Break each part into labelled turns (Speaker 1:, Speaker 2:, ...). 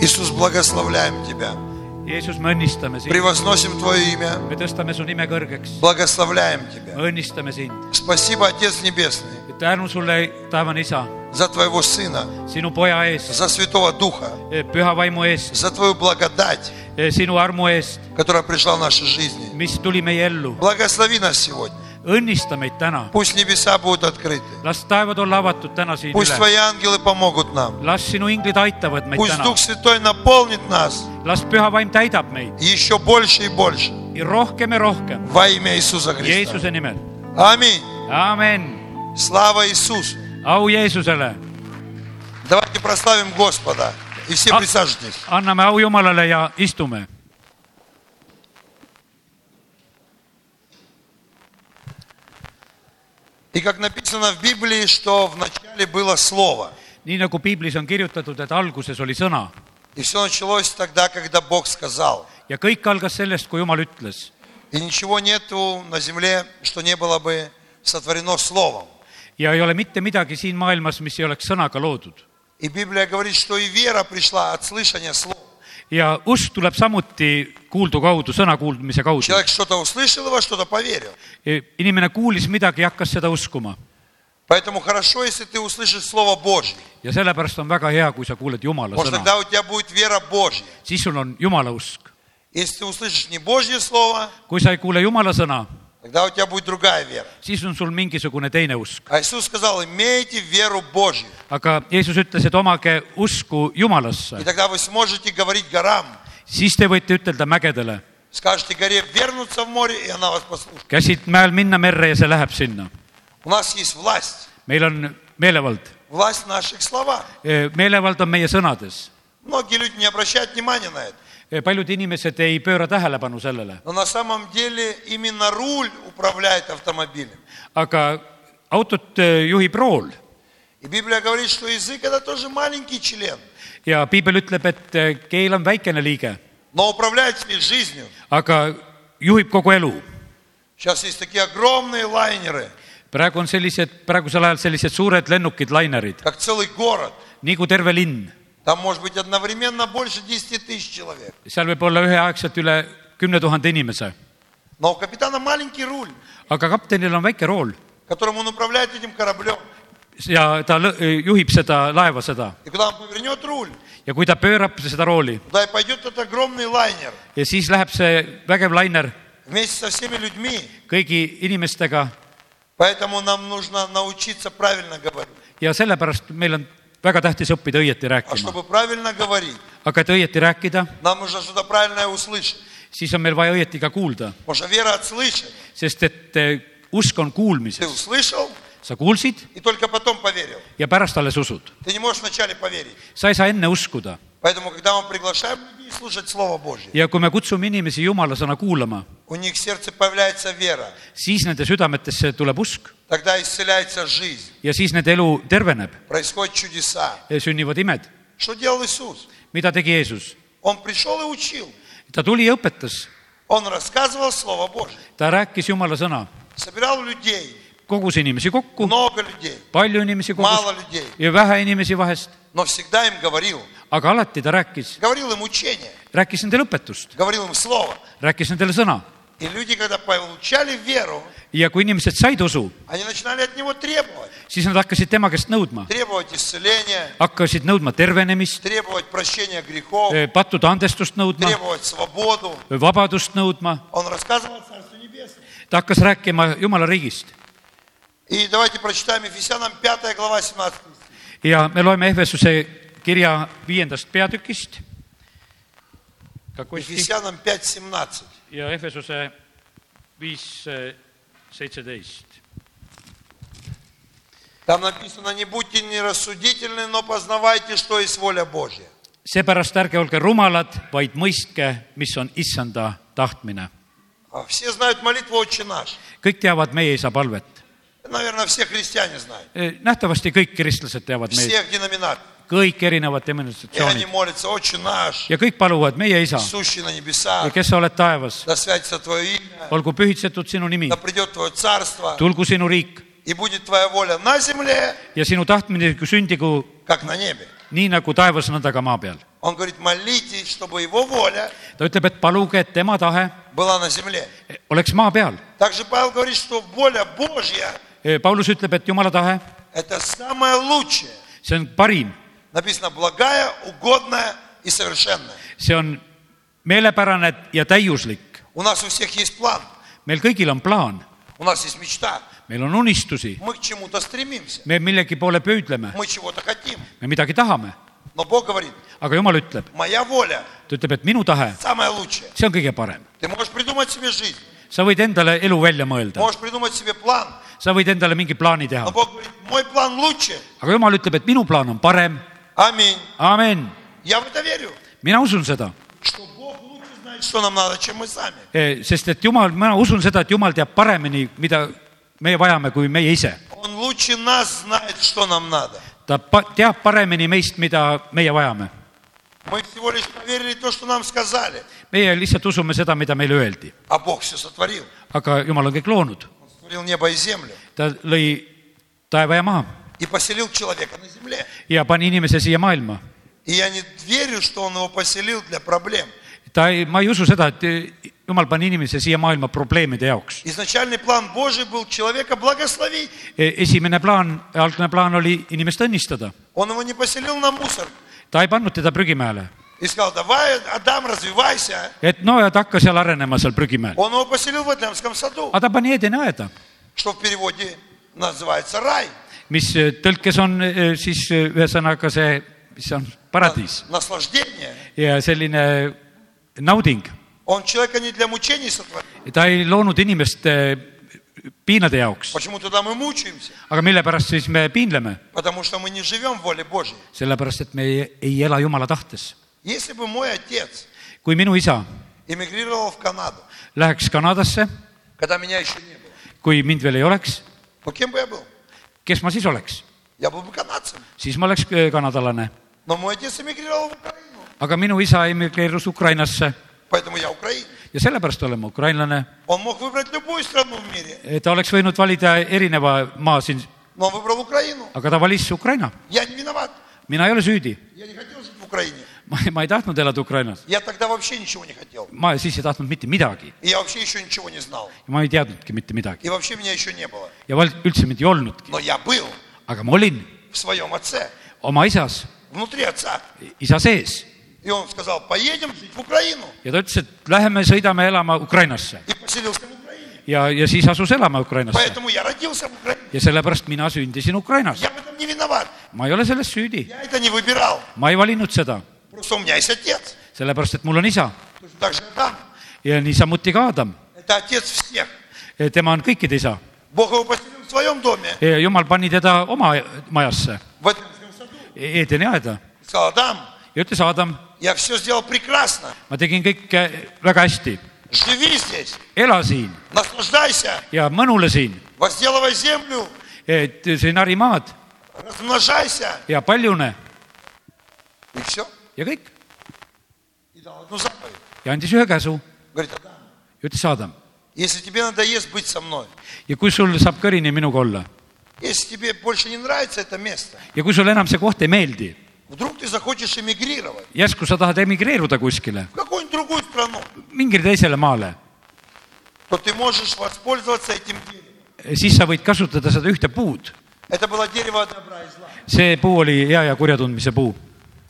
Speaker 1: Иисус, благословляем Тебя.
Speaker 2: Jeesus , me õnnistame sind ,
Speaker 1: Превозносим Твое имя.
Speaker 2: me tõstame su nime kõrgeks ,
Speaker 1: Благословляем Тебя.
Speaker 2: me õnnistame sind .
Speaker 1: Спасибо, Отец Небесный,
Speaker 2: tänu sulle , taevane isa ,
Speaker 1: за Твоего Сына,
Speaker 2: sinu poja ees ,
Speaker 1: за Святого Духа,
Speaker 2: püha vaimu eest ,
Speaker 1: за Твою благодать,
Speaker 2: sinu armu eest ,
Speaker 1: которая пришла в наши жизни.
Speaker 2: mis tuli meie ellu .
Speaker 1: Благослови нас сегодня.
Speaker 2: õnnista meid täna ,
Speaker 1: Пусть небеса будут открыты.
Speaker 2: las taevad olla avatud täna siin
Speaker 1: Пусть
Speaker 2: üle ,
Speaker 1: Твои ангелы помогут нам.
Speaker 2: las sinu inglid aitavad meid
Speaker 1: Пусть
Speaker 2: täna
Speaker 1: Дух , Святой наполнит нас
Speaker 2: las püha vaim täidab meid
Speaker 1: еще больше и больше
Speaker 2: ja rohkem ja rohkem
Speaker 1: во имя Иисуса Христа.
Speaker 2: Jeesuse nimel ,
Speaker 1: Аминь.
Speaker 2: aamen ,
Speaker 1: Слава Иисусу.
Speaker 2: au Jeesusele
Speaker 1: Давайте прославим Господа. И все
Speaker 2: А-
Speaker 1: присаживайтесь.
Speaker 2: anname au Jumalale ja istume .
Speaker 1: И как написано в Библии, что в начале было Слово.
Speaker 2: nii nagu piiblis on kirjutatud , et alguses oli sõna
Speaker 1: И все началось тогда, когда Бог сказал.
Speaker 2: ja kõik algas sellest , kui Jumal ütles .
Speaker 1: И ничего нету на земле, что не было бы сотворено Словом.
Speaker 2: ja ei ole mitte midagi siin maailmas , mis ei oleks sõnaga loodud .
Speaker 1: И Библия говорит, что и вера пришла от слышания Слова.
Speaker 2: ja usk tuleb samuti kuuldu kaudu , sõna kuulmise kaudu .
Speaker 1: Человек что-то услышал его, что-то поверил.
Speaker 2: inimene kuulis midagi ja hakkas seda uskuma
Speaker 1: Поэтому хорошо, если ты услышишь Слово Божье.
Speaker 2: ja sellepärast on väga hea , kui sa kuuled Jumala
Speaker 1: Потому что
Speaker 2: sõna ,
Speaker 1: тогда у тебя будет вера Божья.
Speaker 2: siis sul on Jumala usk .
Speaker 1: Если ты услышишь не Божье Слово,
Speaker 2: kui sa ei kuule Jumala sõna ,
Speaker 1: тогда у тебя будет другая вера.
Speaker 2: siis on sul mingisugune teine usk .
Speaker 1: А Иисус сказал, имейте веру Божью.
Speaker 2: aga Jeesus ütles , et omage usku Jumalasse
Speaker 1: И , тогда вы сможете говорить горам.
Speaker 2: siis te võite ütelda mägedele ,
Speaker 1: Скажете горе вернуться в море, и она вас послушает.
Speaker 2: käsid mäel minna merre ja see läheb sinna .
Speaker 1: У нас есть власть.
Speaker 2: meil on meelevald ,
Speaker 1: Власть в наших словах.
Speaker 2: meelevald on meie sõnades .
Speaker 1: Многие люди не обращают внимания на это.
Speaker 2: Eh, paljud inimesed ei pööra tähelepanu sellele ,
Speaker 1: Но на самом деле именно руль управляет автомобилем.
Speaker 2: aga autot eh, juhib rool
Speaker 1: И Библия говорит, что язык это тоже маленький член,
Speaker 2: ja piibel ütleb , et eh, keel on väikene liige ,
Speaker 1: но управляет всей жизнью.
Speaker 2: aga juhib kogu elu
Speaker 1: Сейчас есть такие огромные лайнеры,
Speaker 2: praegu on sellised , praegusel ajal sellised suured lennukid , lainerid ,
Speaker 1: как целый город.
Speaker 2: nii kui terve linn .
Speaker 1: Там может быть одновременно больше 10 тысяч человек.
Speaker 2: seal võib olla üheaegselt üle kümne tuhande inimese ,
Speaker 1: Но у капитана маленький руль,
Speaker 2: aga kaptenil on väike rool
Speaker 1: которым он управляет этим кораблем.
Speaker 2: ja ta lõ- juhib seda laeva , seda
Speaker 1: И куда он повернет руль,
Speaker 2: ja kui ta pöörab seda rooli
Speaker 1: туда и пойдет этот огромный лайнер
Speaker 2: ja siis läheb see vägev lainer
Speaker 1: вместе со всеми людьми.
Speaker 2: kõigi inimestega
Speaker 1: Поэтому нам нужно научиться правильно говорить.
Speaker 2: ja sellepärast meil on väga tähtis õppida õieti
Speaker 1: А
Speaker 2: rääkima ,
Speaker 1: чтобы правильно говорить,
Speaker 2: aga et õieti rääkida ,
Speaker 1: нам нужно что-то правильное услышать.
Speaker 2: siis on meil vaja õieti ka kuulda ,
Speaker 1: Потому что вера от слышания.
Speaker 2: sest et eh, usk on
Speaker 1: Ты
Speaker 2: kuulmises ,
Speaker 1: услышал
Speaker 2: sa kuulsid
Speaker 1: и только потом поверил.
Speaker 2: ja pärast alles usud ,
Speaker 1: Ты не можешь вначале поверить.
Speaker 2: sa ei saa enne uskuda
Speaker 1: Поэтому, когда мы приглашаем людей слушать Слово Божье,
Speaker 2: ja kui me kutsume inimesi Jumala sõna kuulama ,
Speaker 1: у них в сердце появляется вера.
Speaker 2: siis nende südametesse tuleb usk
Speaker 1: Тогда исцеляется жизнь,
Speaker 2: ja siis nende elu terveneb ,
Speaker 1: происходят чудеса.
Speaker 2: sünnivad imed .
Speaker 1: Что делал Иисус?
Speaker 2: mida tegi Jeesus ?
Speaker 1: Он пришел и учил.
Speaker 2: ta tuli ja õpetas ,
Speaker 1: Он рассказывал Слово Божье.
Speaker 2: ta rääkis Jumala sõna ,
Speaker 1: Собирал людей,
Speaker 2: kogus inimesi kokku ,
Speaker 1: много людей,
Speaker 2: palju inimesi
Speaker 1: мало
Speaker 2: kogus
Speaker 1: людей,
Speaker 2: ja vähe inimesi vahest ,
Speaker 1: но всегда им говорил.
Speaker 2: aga alati ta rääkis ,
Speaker 1: Говорил им учение,
Speaker 2: rääkis nendele õpetust ,
Speaker 1: говорил им Слово.
Speaker 2: rääkis nendele sõna
Speaker 1: И люди, когда получали веру,
Speaker 2: ja kui inimesed said usu ,
Speaker 1: они начинали от него требовать.
Speaker 2: siis nad hakkasid tema käest nõudma ,
Speaker 1: Требовать исцеления,
Speaker 2: hakkasid nõudma tervenemist ,
Speaker 1: требовать прощения грехов,
Speaker 2: pattude andestust nõudma ,
Speaker 1: требовать свободу.
Speaker 2: vabadust nõudma ,
Speaker 1: Он рассказывал о Царстве Небесном.
Speaker 2: ta hakkas rääkima Jumala riigist
Speaker 1: И давайте прочитаем Ефесянам 5 глава 17. стих.
Speaker 2: ja me loeme Ehvesuse kirja viiendast peatükist .
Speaker 1: Ефесянам 5, 17.
Speaker 2: ja Ehvesuse viis eh, seitseteist .
Speaker 1: Там написано, не будьте нерассудительны, но познавайте, что есть воля Божья.
Speaker 2: seepärast ärge olge rumalad , vaid mõistke , mis on issanda tahtmine .
Speaker 1: А Все знают молитву «Отче наш».
Speaker 2: kõik teavad meie isa palvet .
Speaker 1: Наверное, все христиане знают.
Speaker 2: nähtavasti kõik kristlased teavad meid ,
Speaker 1: Всех деноминаций.
Speaker 2: kõik erinevad
Speaker 1: И они
Speaker 2: demonstratsioonid
Speaker 1: молятся «Отче наш,
Speaker 2: ja kõik paluvad , meie isa ,
Speaker 1: сущий на небесах,
Speaker 2: kes sa oled taevas ,
Speaker 1: да святится Твое имя,
Speaker 2: olgu pühitsetud sinu nimi
Speaker 1: да , придет Твое царство,
Speaker 2: tulgu sinu riik
Speaker 1: и будет Твоя воля на земле,
Speaker 2: ja sinu tahtmine sündigu
Speaker 1: как на небе».
Speaker 2: nii nagu taevas , nõnda ka maa peal .
Speaker 1: Он говорит, молитесь, чтобы его воля
Speaker 2: ta ütleb , et paluge , et tema tahe
Speaker 1: была на земле.
Speaker 2: oleks maa peal .
Speaker 1: Также Павел говорит, что воля Божья
Speaker 2: Paulus ütleb , et jumala tahe ,
Speaker 1: – это самое лучшее.
Speaker 2: see on parim ,
Speaker 1: Написано, благая, угодная и совершенная.
Speaker 2: see on meelepärane ja täiuslik .
Speaker 1: У нас у всех есть план,
Speaker 2: meil kõigil on plaan ,
Speaker 1: у нас есть мечта.
Speaker 2: meil on unistusi ,
Speaker 1: Мы к чему-то стремимся,
Speaker 2: me millegi poole püüdleme ,
Speaker 1: мы чего-то хотим.
Speaker 2: me midagi tahame ,
Speaker 1: Но Бог говорит,
Speaker 2: aga jumal ütleb ,
Speaker 1: моя воля
Speaker 2: ta ütleb , et minu tahe ,
Speaker 1: самая лучшая.
Speaker 2: see on kõige parem .
Speaker 1: Ты можешь придумать себе жизнь,
Speaker 2: sa võid endale elu välja mõelda ,
Speaker 1: можешь придумать себе план,
Speaker 2: sa võid endale mingi plaani teha
Speaker 1: но , Бог говорит, мой план лучше.
Speaker 2: aga jumal ütleb , et minu plaan on parem ,
Speaker 1: Аминь.
Speaker 2: amen .
Speaker 1: Я в это верю,
Speaker 2: mina usun seda ,
Speaker 1: что Бог лучше знает, что нам надо, чем мы сами.
Speaker 2: Eh, sest et jumal , mina usun seda , et jumal teab paremini , mida meie vajame , kui meie ise .
Speaker 1: Он лучше нас знает, что нам надо.
Speaker 2: ta pa- teab paremini meist , mida meie vajame .
Speaker 1: Мы всего лишь поверили то, что нам сказали,
Speaker 2: meie lihtsalt usume seda , mida meile öeldi ,
Speaker 1: а Бог все сотворил.
Speaker 2: aga jumal on kõik loonud ,
Speaker 1: Он сотворил небо и землю
Speaker 2: ta lõi taeva ja maa
Speaker 1: и поселил человека на земле.
Speaker 2: ja pani inimese siia maailma .
Speaker 1: И я не верю, что Он его поселил для проблем.
Speaker 2: ta ei , ma ei usu seda , et eh, jumal pani inimese siia maailma probleemide jaoks .
Speaker 1: Изначальный план Божий был человека благословить.
Speaker 2: Eh, esimene plaan , algne plaan oli inimest õnnistada ,
Speaker 1: Он его не поселил на мусор.
Speaker 2: ta ei pannud teda prügimäele ,
Speaker 1: И сказал, давай, Адам, развивайся.
Speaker 2: et no ja ta hakkas seal arenema seal prügimäel ,
Speaker 1: Он его поселил в Эдемском саду,
Speaker 2: aga ta pani Edeni aeda
Speaker 1: что в переводе называется рай.
Speaker 2: mis äh, tõlkes on eh, siis eh, ühesõnaga see , mis on paradiis
Speaker 1: Наслаждение.
Speaker 2: ja selline nauding .
Speaker 1: Он человека не для мучений сотворил.
Speaker 2: ta ei loonud inimest eh, piinade jaoks ,
Speaker 1: Почему тогда мы мучаемся?
Speaker 2: aga mille pärast siis me piinleme ?
Speaker 1: Потому что мы не живем в воле Божьей.
Speaker 2: sellepärast , et me ei, ei ela Jumala tahtes .
Speaker 1: Если бы мой отец
Speaker 2: kui minu isa
Speaker 1: эмигрировал в Канаду,
Speaker 2: läheks Kanadasse ,
Speaker 1: когда меня еще не было,
Speaker 2: kui mind veel ei oleks ,
Speaker 1: ну кем бы я был?
Speaker 2: kes ma siis oleks ?
Speaker 1: Я был бы канадцем.
Speaker 2: siis ma oleks eh, kanadalane .
Speaker 1: Но мой отец эмигрировал в Украину,
Speaker 2: aga minu isa emigreerus Ukrainasse
Speaker 1: поэтому я украинец.
Speaker 2: ja sellepärast olen ma ukrainlane .
Speaker 1: Он мог выбрать любую страну в мире,
Speaker 2: ta oleks võinud valida erineva maa siin ,
Speaker 1: но он выбрал Украину.
Speaker 2: aga ta valis Ukraina .
Speaker 1: Я не виноват.
Speaker 2: mina ei ole süüdi
Speaker 1: Я не хотел жить в Украине.
Speaker 2: ma , ma ei tahtnud elada Ukrainas ,
Speaker 1: Я тогда вообще ничего не хотел.
Speaker 2: ma siis ei tahtnud mitte midagi ,
Speaker 1: И я вообще еще ничего не знал.
Speaker 2: ma ei teadnudki mitte midagi
Speaker 1: И вообще меня еще не было.
Speaker 2: ja val- üldse mind ei olnudki ,
Speaker 1: Но я был
Speaker 2: aga ma olin
Speaker 1: в своем отце,
Speaker 2: oma isas ,
Speaker 1: внутри отца.
Speaker 2: isa sees
Speaker 1: И он сказал, pojedем жить в Украину.
Speaker 2: ja ta ütles , et läheme sõidame elama Ukrainasse
Speaker 1: И поселился в Украине.
Speaker 2: ja , ja siis asus elama Ukrainasse
Speaker 1: Поэтому я родился в Украине.
Speaker 2: ja sellepärast mina sündisin Ukrainas ,
Speaker 1: Я в этом не виноват.
Speaker 2: ma ei ole selles süüdi ,
Speaker 1: Я это не выбирал.
Speaker 2: ma ei valinud seda ,
Speaker 1: Просто у меня есть отец.
Speaker 2: sellepärast et mul on isa
Speaker 1: Точно Так же Адам.
Speaker 2: ja niisamuti ka Adam ,
Speaker 1: Это отец всех.
Speaker 2: tema on kõikide isa
Speaker 1: Бог его поселил в своем доме.
Speaker 2: ja jumal pani teda oma majasse ,
Speaker 1: В Эдемском саду.
Speaker 2: Edeni E-, aeda
Speaker 1: И Сказал, Адам,
Speaker 2: ja ütles Adam ,
Speaker 1: я все сделал прекрасно.
Speaker 2: ma tegin kõike väga hästi
Speaker 1: Живи здесь.
Speaker 2: ela siin
Speaker 1: Наслаждайся.
Speaker 2: ja mõnule siin ,
Speaker 1: Возделывай землю.
Speaker 2: et siin harimaad
Speaker 1: Размножайся.
Speaker 2: ja paljune
Speaker 1: И все.
Speaker 2: ja kõik .
Speaker 1: И дал одну заповедь.
Speaker 2: ja andis ühe käsu
Speaker 1: Говорит, Адам,
Speaker 2: ja ütles Adam ,
Speaker 1: если тебе надоест быть со мной,
Speaker 2: ja kui sul saab kõrini minuga olla
Speaker 1: если тебе больше не нравится это место,
Speaker 2: ja kui sulle enam see koht ei meeldi ,
Speaker 1: вдруг ты захочешь эмигрировать
Speaker 2: järsku sa tahad emigreeruda kuskile ,
Speaker 1: в какую-нибудь другую страну,
Speaker 2: mingile teisele maale ,
Speaker 1: то ты можешь воспользоваться этим деревом.
Speaker 2: siis sa võid kasutada seda ühte puud .
Speaker 1: Это было дерево добра и зла.
Speaker 2: see puu oli hea ja kurja tundmise puu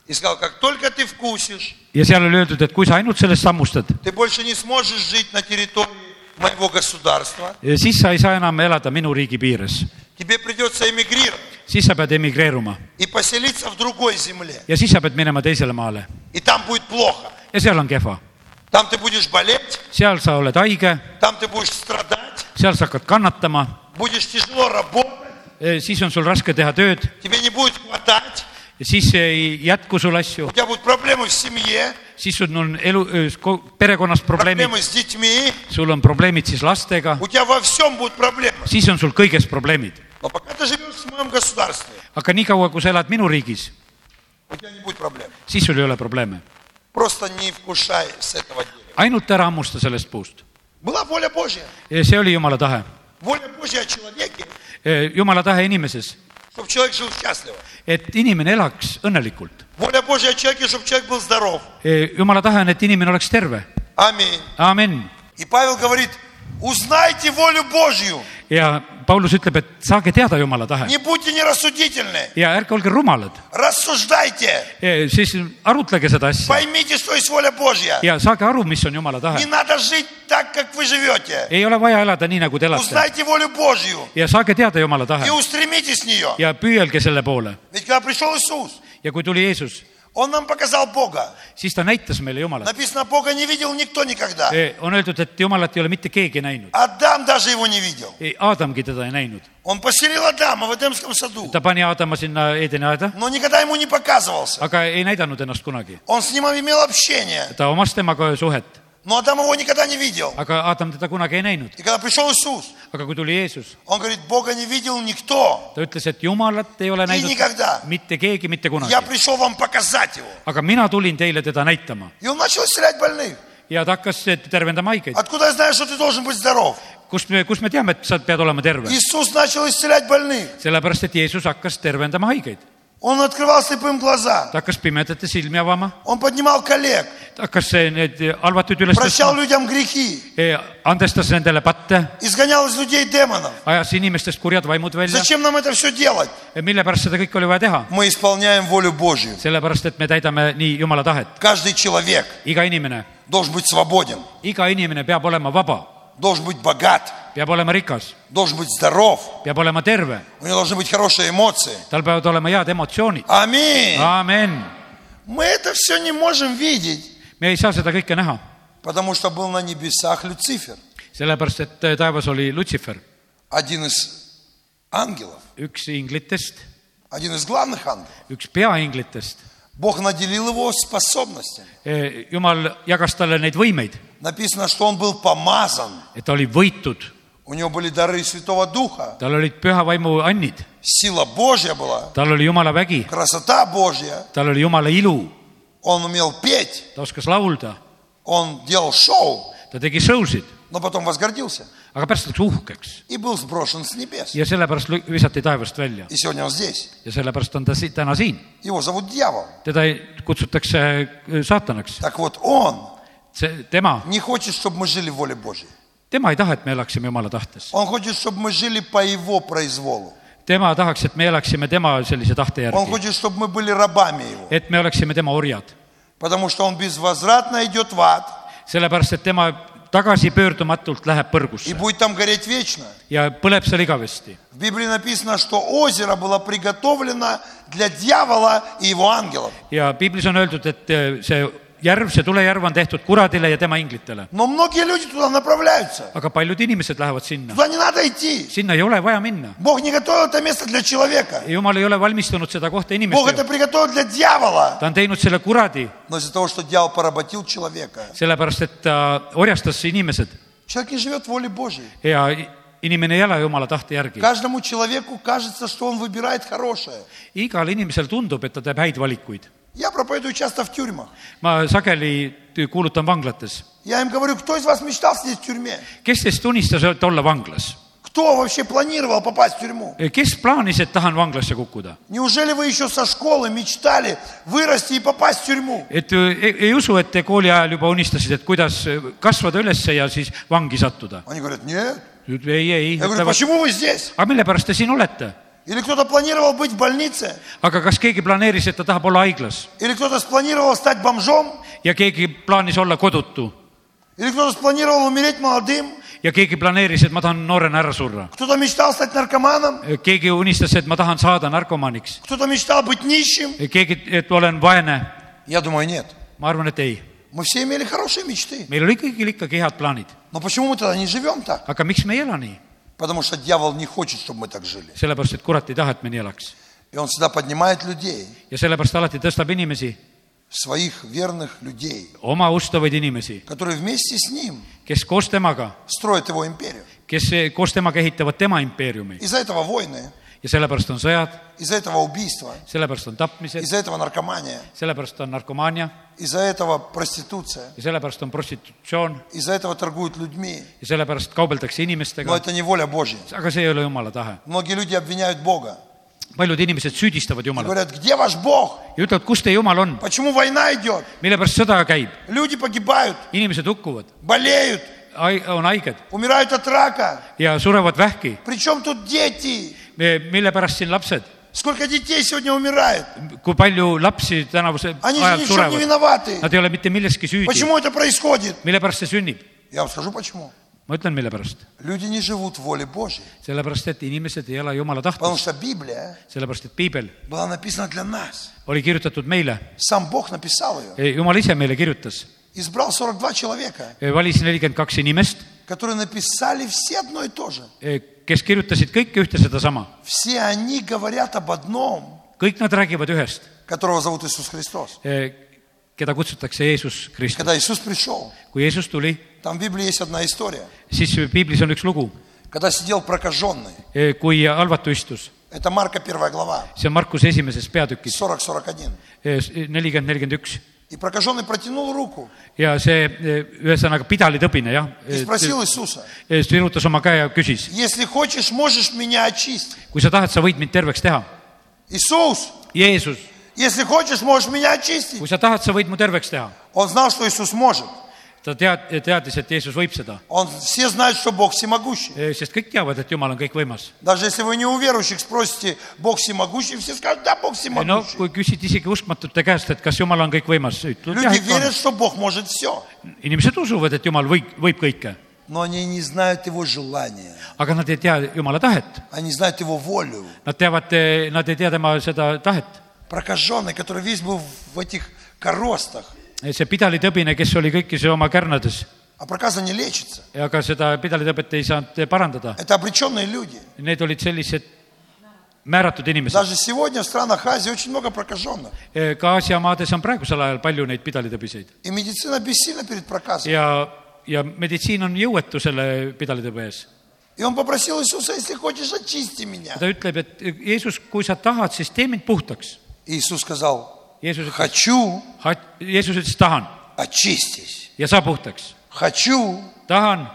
Speaker 1: И сказал, как только ты вкусишь,
Speaker 2: ja seal oli öeldud , et kui sa ainult sellest sammustad ,
Speaker 1: ты больше не сможешь жить на территории моего государства,
Speaker 2: eh, siis sa ei saa enam elada minu riigi piires ,
Speaker 1: тебе придется эмигрировать
Speaker 2: siis sa pead emigreeruma
Speaker 1: и поселиться в другой земле.
Speaker 2: ja siis sa pead minema teisele maale
Speaker 1: И там будет плохо.
Speaker 2: ja seal on kehva
Speaker 1: Там ты будешь болеть,
Speaker 2: seal sa oled haige ,
Speaker 1: там ты будешь страдать,
Speaker 2: seal sa hakkad kannatama ,
Speaker 1: будешь тяжело работать,
Speaker 2: siis on sul raske teha tööd ,
Speaker 1: тебе не будет хватать,
Speaker 2: siis ei jätku sul asju
Speaker 1: у , тебя будут проблемы в семье,
Speaker 2: siis sul on elu , perekonnas probleemid ,
Speaker 1: проблемы с детьми,
Speaker 2: sul on probleemid siis lastega ,
Speaker 1: у тебя во всем будут проблемы.
Speaker 2: siis on sul kõiges probleemid .
Speaker 1: Но пока ты живешь в моем государстве,
Speaker 2: aga niikaua , kui sa elad minu riigis ,
Speaker 1: у тебя не будет проблем.
Speaker 2: siis sul ei ole probleeme .
Speaker 1: Просто не вкушай с этого дерева.
Speaker 2: ainult ära hammusta sellest puust .
Speaker 1: Была воля Божья.
Speaker 2: see oli Jumala tahe .
Speaker 1: Воля Божья о человеке,
Speaker 2: Jumala tahe inimeses ,
Speaker 1: чтобы человек жил счастливо.
Speaker 2: et inimene elaks õnnelikult .
Speaker 1: Воля Божья о человеке, чтобы человек был здоров.
Speaker 2: jumala tahe on , et inimene oleks terve ,
Speaker 1: Аминь.
Speaker 2: amin .
Speaker 1: И Павел говорит, узнайте волю Божью,
Speaker 2: ja Paulus ütleb , et saage teada jumala tahe
Speaker 1: не будьте нерассудительны,
Speaker 2: ja ärge olge rumalad ,
Speaker 1: рассуждайте,
Speaker 2: siis arutlege seda asja
Speaker 1: поймите, что есть воля Божья.
Speaker 2: ja saage aru , mis on jumala
Speaker 1: Не
Speaker 2: tahe .
Speaker 1: надо жить так, как вы живете.
Speaker 2: ei ole vaja elada nii , nagu te elate
Speaker 1: Узнайте волю Божью
Speaker 2: ja saage teada jumala tahe
Speaker 1: и устремитесь в нее.
Speaker 2: ja püüelge selle poole
Speaker 1: Ведь когда пришел Иисус,
Speaker 2: ja kui tuli Jeesus ,
Speaker 1: Он нам показал Бога.
Speaker 2: siis ta näitas meile Jumalat .
Speaker 1: Написано, Бога не видел никто никогда.
Speaker 2: on öeldud , et Jumalat ei ole mitte keegi näinud ,
Speaker 1: Адам даже его не видел.
Speaker 2: ei Aadamgi teda ei näinud ,
Speaker 1: Он поселил Адама в Эдемском саду,
Speaker 2: ta pani Aadama sinna Edeni aeda ,
Speaker 1: но никогда ему не показывался.
Speaker 2: aga ei näidanud ennast kunagi .
Speaker 1: Он с ним имел общение,
Speaker 2: ta omas temaga suhet ,
Speaker 1: но Адам его никогда не видел.
Speaker 2: aga Aadam teda kunagi ei näinud .
Speaker 1: И когда пришел Иисус,
Speaker 2: aga kui tuli Jeesus ,
Speaker 1: он говорит, Бога не видел никто.
Speaker 2: ta ütles , et Jumalat ei ole
Speaker 1: И
Speaker 2: näinud
Speaker 1: никогда.
Speaker 2: mitte keegi mitte
Speaker 1: Я
Speaker 2: kunagi ,
Speaker 1: пришел вам показать его.
Speaker 2: aga mina tulin teile teda näitama
Speaker 1: И он начал исцелять больных.
Speaker 2: ja ta hakkas tervendama haigeid .
Speaker 1: Откуда я знаю, что ты должен быть здоров?
Speaker 2: kust me , kust me teame , et sa pead olema terve ?
Speaker 1: Иисус начал исцелять больных.
Speaker 2: sellepärast , et Jeesus hakkas tervendama haigeid ,
Speaker 1: Он открывал слепым глаза.
Speaker 2: ta hakkas pimedate silmi avama ,
Speaker 1: Он поднимал коллег,
Speaker 2: ta hakkas eh, need halvatuid üles
Speaker 1: прощал
Speaker 2: tõstma ,
Speaker 1: людям грехи,
Speaker 2: andestas nendele patte ,
Speaker 1: изгонял из людей демонов.
Speaker 2: ajas inimestest kurjad vaimud välja .
Speaker 1: Зачем нам это все делать?
Speaker 2: mille pärast seda kõike oli vaja teha ?
Speaker 1: Мы исполняем волю Божью.
Speaker 2: sellepärast , et me täidame nii Jumala tahet .
Speaker 1: Каждый человек
Speaker 2: iga inimene ,
Speaker 1: должен быть свободен,
Speaker 2: iga inimene peab olema vaba ,
Speaker 1: должен быть богат,
Speaker 2: peab olema rikas ,
Speaker 1: должен быть здоров,
Speaker 2: peab olema terve ,
Speaker 1: у него должны быть хорошие эмоции.
Speaker 2: tal peavad olema head emotsioonid .
Speaker 1: Аминь.
Speaker 2: А. amen .
Speaker 1: Мы это все не можем видеть,
Speaker 2: me ei saa seda kõike näha ,
Speaker 1: потому что был на небесах Люцифер,
Speaker 2: sellepärast et äh, taevas oli Lutsifer ,
Speaker 1: один из ангелов,
Speaker 2: üks inglitest ,
Speaker 1: один из главных ангелов.
Speaker 2: üks peainglitest .
Speaker 1: Бог наделил его способностями.
Speaker 2: jumal jagas talle neid võimeid ,
Speaker 1: Написано, что он был помазан.
Speaker 2: et ta oli võitud ,
Speaker 1: У него были дары Святого Духа,
Speaker 2: tal olid püha vaimu annid ,
Speaker 1: сила Божья была,
Speaker 2: tal oli Jumala vägi ,
Speaker 1: красота Божья.
Speaker 2: tal oli Jumala ilu ,
Speaker 1: Он умел петь,
Speaker 2: ta oskas laulda ,
Speaker 1: он делал шоу,
Speaker 2: ta tegi show'sid ,
Speaker 1: но потом возгордился
Speaker 2: aga pärast läks uhkeks
Speaker 1: и был сброшен с небес.
Speaker 2: ja sellepärast lü- visati taevast välja
Speaker 1: И сегодня он здесь.
Speaker 2: ja sellepärast on ta si- täna siin .
Speaker 1: Его зовут дьявол.
Speaker 2: teda ei- kutsutakse äh, saatanaks ,
Speaker 1: Так вот, он
Speaker 2: see , tema ,
Speaker 1: не хочет, чтобы мы жили в воле Божьей.
Speaker 2: tema ei taha , et me elaksime Jumala tahtes .
Speaker 1: Он хочет, чтобы мы жили по его произволу.
Speaker 2: tema tahaks , et me elaksime tema sellise tahte
Speaker 1: Он
Speaker 2: järgi ,
Speaker 1: хочет, чтобы мы были рабами его.
Speaker 2: et me oleksime tema orjad ,
Speaker 1: Потому что он безвозвратно идет в ад
Speaker 2: sellepärast et tema tagasipöördumatult läheb
Speaker 1: и
Speaker 2: põrgusse
Speaker 1: будет там гореть вечно.
Speaker 2: ja põleb seal igavesti .
Speaker 1: В Библии написано, что озеро было приготовлено для дьявола и его ангелов.
Speaker 2: ja piiblis on öeldud , et äh, see järv , see tulejärv on tehtud kuradile ja tema inglitele ,
Speaker 1: Но многие люди туда направляются.
Speaker 2: aga paljud inimesed lähevad sinna ,
Speaker 1: Туда не надо идти.
Speaker 2: sinna ei ole vaja minna .
Speaker 1: Бог не готовил это место для человека.
Speaker 2: jumal ei ole valmistunud seda kohta
Speaker 1: Бог это
Speaker 2: inimestele ,
Speaker 1: приготовил для дьявола.
Speaker 2: ta on teinud selle kuradi
Speaker 1: Но из-за того, что дьявол поработил человека,
Speaker 2: sellepärast , et ta orjastas inimesed
Speaker 1: человек не живет в воле Божьей.
Speaker 2: ja inimene ei ela jumala tahte järgi .
Speaker 1: Каждому человеку кажется, что он выбирает хорошее.
Speaker 2: igal inimesel tundub , et ta teeb häid valikuid .
Speaker 1: Я проповедую часто в тюрьмах.
Speaker 2: ma sageli t- kuulutan vanglates ,
Speaker 1: Я им говорю, кто из вас мечтал сидеть в тюрьме?
Speaker 2: kes teist unistas , et olla vanglas ?
Speaker 1: Кто вообще планировал попасть в тюрьму?
Speaker 2: Eh, kes plaanis , et tahan vanglasse kukkuda ?
Speaker 1: Неужели вы еще со школы мечтали вырасти и попасть в тюрьму?
Speaker 2: et öö, ei, ei usu , et te kooli ajal juba unistasite , et kuidas öö, kasvada üles ja siis vangi sattuda .
Speaker 1: Они говорят, нет.
Speaker 2: ei , ei ,
Speaker 1: Я говорю,
Speaker 2: ütlevad ,
Speaker 1: почему вы здесь?
Speaker 2: aga mille pärast te siin olete ?
Speaker 1: Или кто-то планировал быть в больнице?
Speaker 2: aga kas keegi planeeris , et ta tahab olla haiglas
Speaker 1: Или кто-то спланировал стать бомжом?
Speaker 2: ja keegi plaanis olla kodutu
Speaker 1: Или кто-то спланировал умереть молодым?
Speaker 2: ja keegi planeeris , et ma tahan noorena ära surra ?
Speaker 1: Кто-то мечтал стать наркоманом?
Speaker 2: keegi unistas , et ma tahan saada narkomaaniks ,
Speaker 1: Кто-то мечтал быть нищим?
Speaker 2: keegi , et olen vaene .
Speaker 1: Я думаю, нет.
Speaker 2: ma arvan , et ei ,
Speaker 1: Мы все имели хорошие мечты.
Speaker 2: meil oli kõigil ikkagi head plaanid ,
Speaker 1: Но почему мы тогда не живем так?
Speaker 2: aga miks me ei ela nii ?
Speaker 1: Потому что дьявол не хочет, чтобы мы так жили.
Speaker 2: sellepärast , et kurat ei taha , et me nii elaks
Speaker 1: И он всегда поднимает людей,
Speaker 2: ja sellepärast alati tõstab inimesi ,
Speaker 1: своих верных людей,
Speaker 2: oma ustavaid inimesi ,
Speaker 1: которые vместе с ним
Speaker 2: kes koos temaga ,
Speaker 1: строят его империю.
Speaker 2: kes koos temaga ehitavad tema impeeriumi
Speaker 1: Из-за этого войны,
Speaker 2: ja sellepärast on sõjad ,
Speaker 1: из-за этого убийства,
Speaker 2: sellepärast on tapmised ,
Speaker 1: из-за этого наркомания,
Speaker 2: sellepärast on narkomaania
Speaker 1: из-за этого проституция,
Speaker 2: ja sellepärast on prostitutsioon
Speaker 1: из-за этого торгуют людьми.
Speaker 2: ja sellepärast kaubeldakse
Speaker 1: Но
Speaker 2: inimestega ,
Speaker 1: это не воля Божья.
Speaker 2: aga see ei ole jumala tahe .
Speaker 1: Многие люди обвиняют Бога.
Speaker 2: paljud inimesed süüdistavad
Speaker 1: И
Speaker 2: Jumalat
Speaker 1: говорят, где ваш Бог?
Speaker 2: ja ütlevad , kus teie Jumal on ,
Speaker 1: Почему война идет?
Speaker 2: mille pärast sõda käib ,
Speaker 1: Люди погибают,
Speaker 2: inimesed hukkuvad ,
Speaker 1: болеют,
Speaker 2: on haiged
Speaker 1: умирают от рака.
Speaker 2: ja surevad vähki ,
Speaker 1: Причем тут дети?
Speaker 2: mille pärast siin lapsed ,
Speaker 1: Сколько детей сегодня умирает?
Speaker 2: kui palju lapsi tänavuse
Speaker 1: Они же
Speaker 2: ajal
Speaker 1: ни в чем не
Speaker 2: surevad ,
Speaker 1: виноваты.
Speaker 2: nad ei ole mitte milleski süüdi ,
Speaker 1: Почему это происходит?
Speaker 2: mille pärast see sünnib ?
Speaker 1: Я вам скажу почему.
Speaker 2: ma ütlen , mille pärast ,
Speaker 1: Люди не живут в воле Божьей.
Speaker 2: sellepärast et inimesed ei ela Jumala
Speaker 1: Потому
Speaker 2: tahtes ,
Speaker 1: что Библия
Speaker 2: sellepärast et piibel
Speaker 1: была написана для нас.
Speaker 2: oli kirjutatud meile ,
Speaker 1: Сам Бог написал ее.
Speaker 2: Jumal ise meile kirjutas ,
Speaker 1: Избрал 42 человека,
Speaker 2: valis nelikümmend kaks inimest ,
Speaker 1: которые написали все одно и то же.
Speaker 2: kes kirjutasid kõike ühte sedasama ,
Speaker 1: Все они говорят об одном,
Speaker 2: kõik nad räägivad ühest ,
Speaker 1: которого зовут Иисус Христос.
Speaker 2: keda kutsutakse Jeesus Kristus .
Speaker 1: Когда Иисус пришел,
Speaker 2: kui Jeesus tuli ,
Speaker 1: там в Библии есть одна история.
Speaker 2: siis piiblis on üks lugu ,
Speaker 1: Когда сидел прокаженный,
Speaker 2: kui halvatu istus ,
Speaker 1: это Марка 1 глава,
Speaker 2: see on Markuse esimeses peatükis E,
Speaker 1: 40-41.
Speaker 2: nelikümmend , nelikümmend üks
Speaker 1: И прокаженный протянул руку
Speaker 2: ja see eh, ühesõnaga pidalitõbine jah E,
Speaker 1: и , спросил Иисуса,
Speaker 2: virutas oma käe ja küsis ,
Speaker 1: если хочешь, можешь меня очистить.
Speaker 2: kui sa tahad , sa võid mind terveks teha .
Speaker 1: Иисус,
Speaker 2: Jeesus ,
Speaker 1: если хочешь, можешь меня очистить.
Speaker 2: kui sa tahad , sa võid mu terveks teha .
Speaker 1: Он знал, что Иисус может.
Speaker 2: ta tead , teadis , et Jeesus võib seda ,
Speaker 1: Он, все знают, что Бог всемогущий.
Speaker 2: sest kõik teavad , et Jumal on kõikvõimas .
Speaker 1: Даже если вы не у верующих спросите, Бог всемогущий, все скажут, да, Бог
Speaker 2: no
Speaker 1: всемогущий.
Speaker 2: kui küsid isegi uskmatute käest , et kas Jumal on kõikvõimas , ütled jah ,
Speaker 1: Люди
Speaker 2: ikka on
Speaker 1: верят, что Бог может все,
Speaker 2: inimesed usuvad , et Jumal võib , võib kõike ,
Speaker 1: но они не знают Его желания,
Speaker 2: aga nad ei tea Jumala tahet .
Speaker 1: они знают Его волю.
Speaker 2: Nad teavad , nad ei tea tema seda tahet .
Speaker 1: Прокаженный, который весь был в этих коростах,
Speaker 2: see pidalitõbine , kes oli kõikise oma kärnades ,
Speaker 1: а проказа не лечится.
Speaker 2: aga seda pidalitõbet ei saanud parandada .
Speaker 1: Это обреченные люди.
Speaker 2: Need olid sellised määratud inimesed .
Speaker 1: Даже сегодня в странах Азии очень много прокаженных.
Speaker 2: ka Aasia maades on praegusel ajal palju neid pidalitõbiseid
Speaker 1: И медицина бессильна перед проказом.
Speaker 2: ja , ja meditsiin on jõuetu selle pidalitõbe ees .
Speaker 1: И он попросил Иисуса, если хочешь, очисти меня.
Speaker 2: ta ütleb , et Jeesus , kui sa tahad , siis tee mind puhtaks .
Speaker 1: И Иисус сказал,
Speaker 2: Jeesus ütles ,
Speaker 1: хочу,
Speaker 2: Jeesus ütles tahan
Speaker 1: очистись.
Speaker 2: ja saa puhtaks ,
Speaker 1: Хочу,
Speaker 2: tahan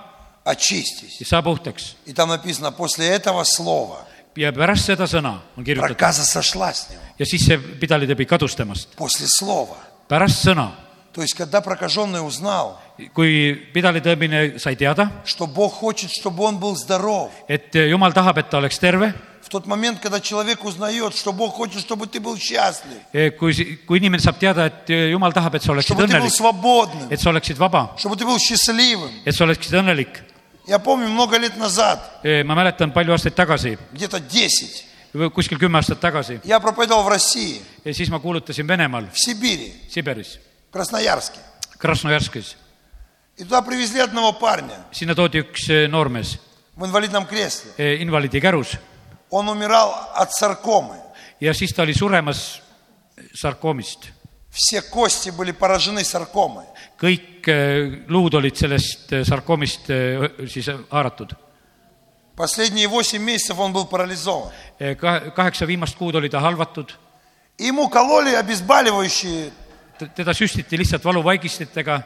Speaker 1: очистись.
Speaker 2: ja saa puhtaks
Speaker 1: И там написано, после этого слова
Speaker 2: ja pärast seda sõna on kirjutatud .
Speaker 1: проказа сошла с него.
Speaker 2: ja siis see pidalitõbi kadus temast .
Speaker 1: После слова.
Speaker 2: pärast sõna ,
Speaker 1: То есть, когда прокаженный узнал,
Speaker 2: kui pidalitõbine sai teada ,
Speaker 1: что Бог хочет, чтобы он был здоров,
Speaker 2: et jumal tahab , et ta oleks terve ,
Speaker 1: в тот момент, когда человек узнает, что Bог хочет, чтобы ты был счастлив,
Speaker 2: eh, kui , kui inimene saab teada , et jumal tahab , et sa oleksid
Speaker 1: чтобы ты был
Speaker 2: õnnelik ,
Speaker 1: свободным,
Speaker 2: et sa oleksid vaba ,
Speaker 1: чтобы ты был счастливым.
Speaker 2: et sa oleksid õnnelik .
Speaker 1: Я помню, много лет назад,
Speaker 2: ma mäletan palju aastaid tagasi ,
Speaker 1: где-то 10,
Speaker 2: kuskil kümme aastat tagasi ,
Speaker 1: я проповедовал в России,
Speaker 2: siis ma kuulutasin Venemaal ,
Speaker 1: в Сибири,
Speaker 2: Siberis ,
Speaker 1: в Красноярске.
Speaker 2: Krasnojarskis .
Speaker 1: И туда привезли одного парня
Speaker 2: sinna toodi üks eh, noormees eh,
Speaker 1: в инвалидном кресле.
Speaker 2: invaliidi kärus
Speaker 1: Он умирал от саркомы.
Speaker 2: ja siis ta oli suremas eh, sarkoomist
Speaker 1: Все кости были поражены саркомой.
Speaker 2: kõik eh, luud olid sellest eh, sarkoomist eh, siis haaratud .
Speaker 1: Последние 8 месяцев он был парализован.
Speaker 2: Eh, kaheksa viimast kuud oli ta halvatud ,
Speaker 1: Ему кололи обезболивающие
Speaker 2: teda süstiti lihtsalt valuvaigistitega ,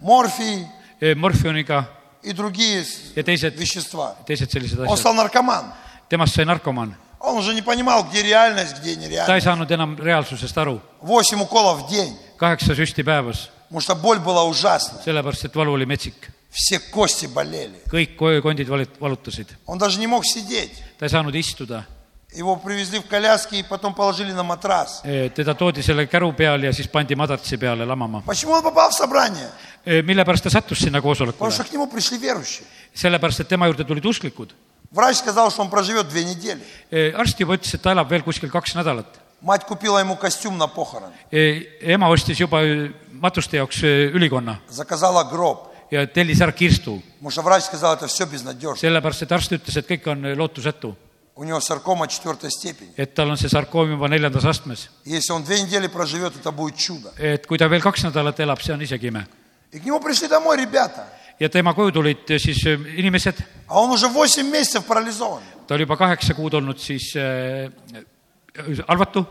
Speaker 1: морфий
Speaker 2: morfioniga
Speaker 1: и другие с-
Speaker 2: ja teised ,
Speaker 1: вещества.
Speaker 2: teised sellised
Speaker 1: Он
Speaker 2: asjad .
Speaker 1: стал наркоман.
Speaker 2: temast sai narkomaan ,
Speaker 1: Он уже не понимал, где реальность, где
Speaker 2: ta ei
Speaker 1: нереальность.
Speaker 2: saanud enam reaalsusest aru ,
Speaker 1: 8 уколов в день,
Speaker 2: kaheksa süsti päevas ,
Speaker 1: потому что боль была ужасна.
Speaker 2: sellepärast et valu oli metsik ,
Speaker 1: Все кости болели.
Speaker 2: kõik ko- kondid valit- , valutasid ,
Speaker 1: Он даже не мог сидеть.
Speaker 2: ta ei saanud istuda ,
Speaker 1: Его привезли в коляске и потом положили на матрас.
Speaker 2: Eh, teda toodi selle käru peal ja siis pandi madartsi peale lamama .
Speaker 1: Почему он попал в собрание?
Speaker 2: mille pärast ta sattus sinna
Speaker 1: Потому что
Speaker 2: koosolekule ?
Speaker 1: к нему пришли верующие.
Speaker 2: sellepärast , et tema juurde tulid usklikud
Speaker 1: Врач сказал, что он проживет две недели.
Speaker 2: Eh, arst juba ütles , et ta elab veel kuskil kaks nädalat .
Speaker 1: Мать купила ему костюм на похороны,
Speaker 2: ema ostis juba eh, matuste jaoks eh, ülikonna
Speaker 1: заказала гроб.
Speaker 2: ja tellis ära kirstu ,
Speaker 1: Потому что врач сказал, это все безнадежно.
Speaker 2: sellepärast et arst ütles , et kõik on eh, lootusetu ,
Speaker 1: У него саркома четвертой степени.
Speaker 2: et tal on see sarkoom juba neljandas astmes .
Speaker 1: Если он две недели проживет, это будет чудо.
Speaker 2: et kui ta veel kaks nädalat elab , see on isegi ime .
Speaker 1: И к нему пришли домой ребята.
Speaker 2: ja tema koju tulid eh, siis eh, inimesed ,
Speaker 1: А он уже 8 месяцев парализован.
Speaker 2: ta oli juba kaheksa kuud olnud siis eh, eh, halvatu ,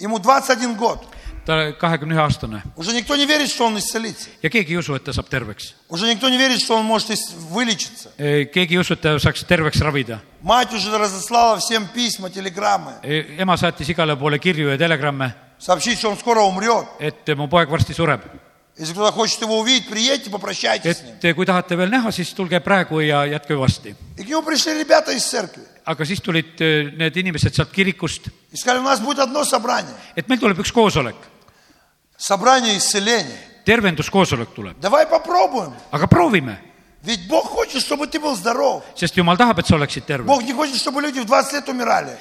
Speaker 1: Ему 21 год.
Speaker 2: ta kahekümne ühe aastane
Speaker 1: Уже никто не верит, что он исцелится.
Speaker 2: ja keegi ei usu , et ta saab terveks .
Speaker 1: Уже никто не верит, что он может ис- вылечиться.
Speaker 2: keegi ei usu , et ta saaks terveks ravida .
Speaker 1: Мать уже разослала всем письма, телеграммы.
Speaker 2: ema saatis igale poole kirju ja telegramme ,
Speaker 1: Сообщить, что он скоро умрет.
Speaker 2: et mu poeg varsti sureb .
Speaker 1: Если кто-то хочет его увидеть, приедьте, попрощайтесь с ним.
Speaker 2: et eh, kui tahate veel näha , siis tulge praegu ja jätke varsti .
Speaker 1: И к нему пришли ребята из церкви.
Speaker 2: aga siis tulid öö, need inimesed sealt kirikust ,
Speaker 1: И сказали, у нас будет одно собрание.
Speaker 2: et meil tuleb üks koosolek ,
Speaker 1: Собрание исцеления.
Speaker 2: tervenduskoosolek tuleb ,
Speaker 1: Давай попробуем.
Speaker 2: aga proovime ,
Speaker 1: Ведь Бог хочет, чтобы ты был здоров.
Speaker 2: sest jumal tahab , et sa oleksid terve .
Speaker 1: Бог не хочет, чтобы люди в 20 лет умирали.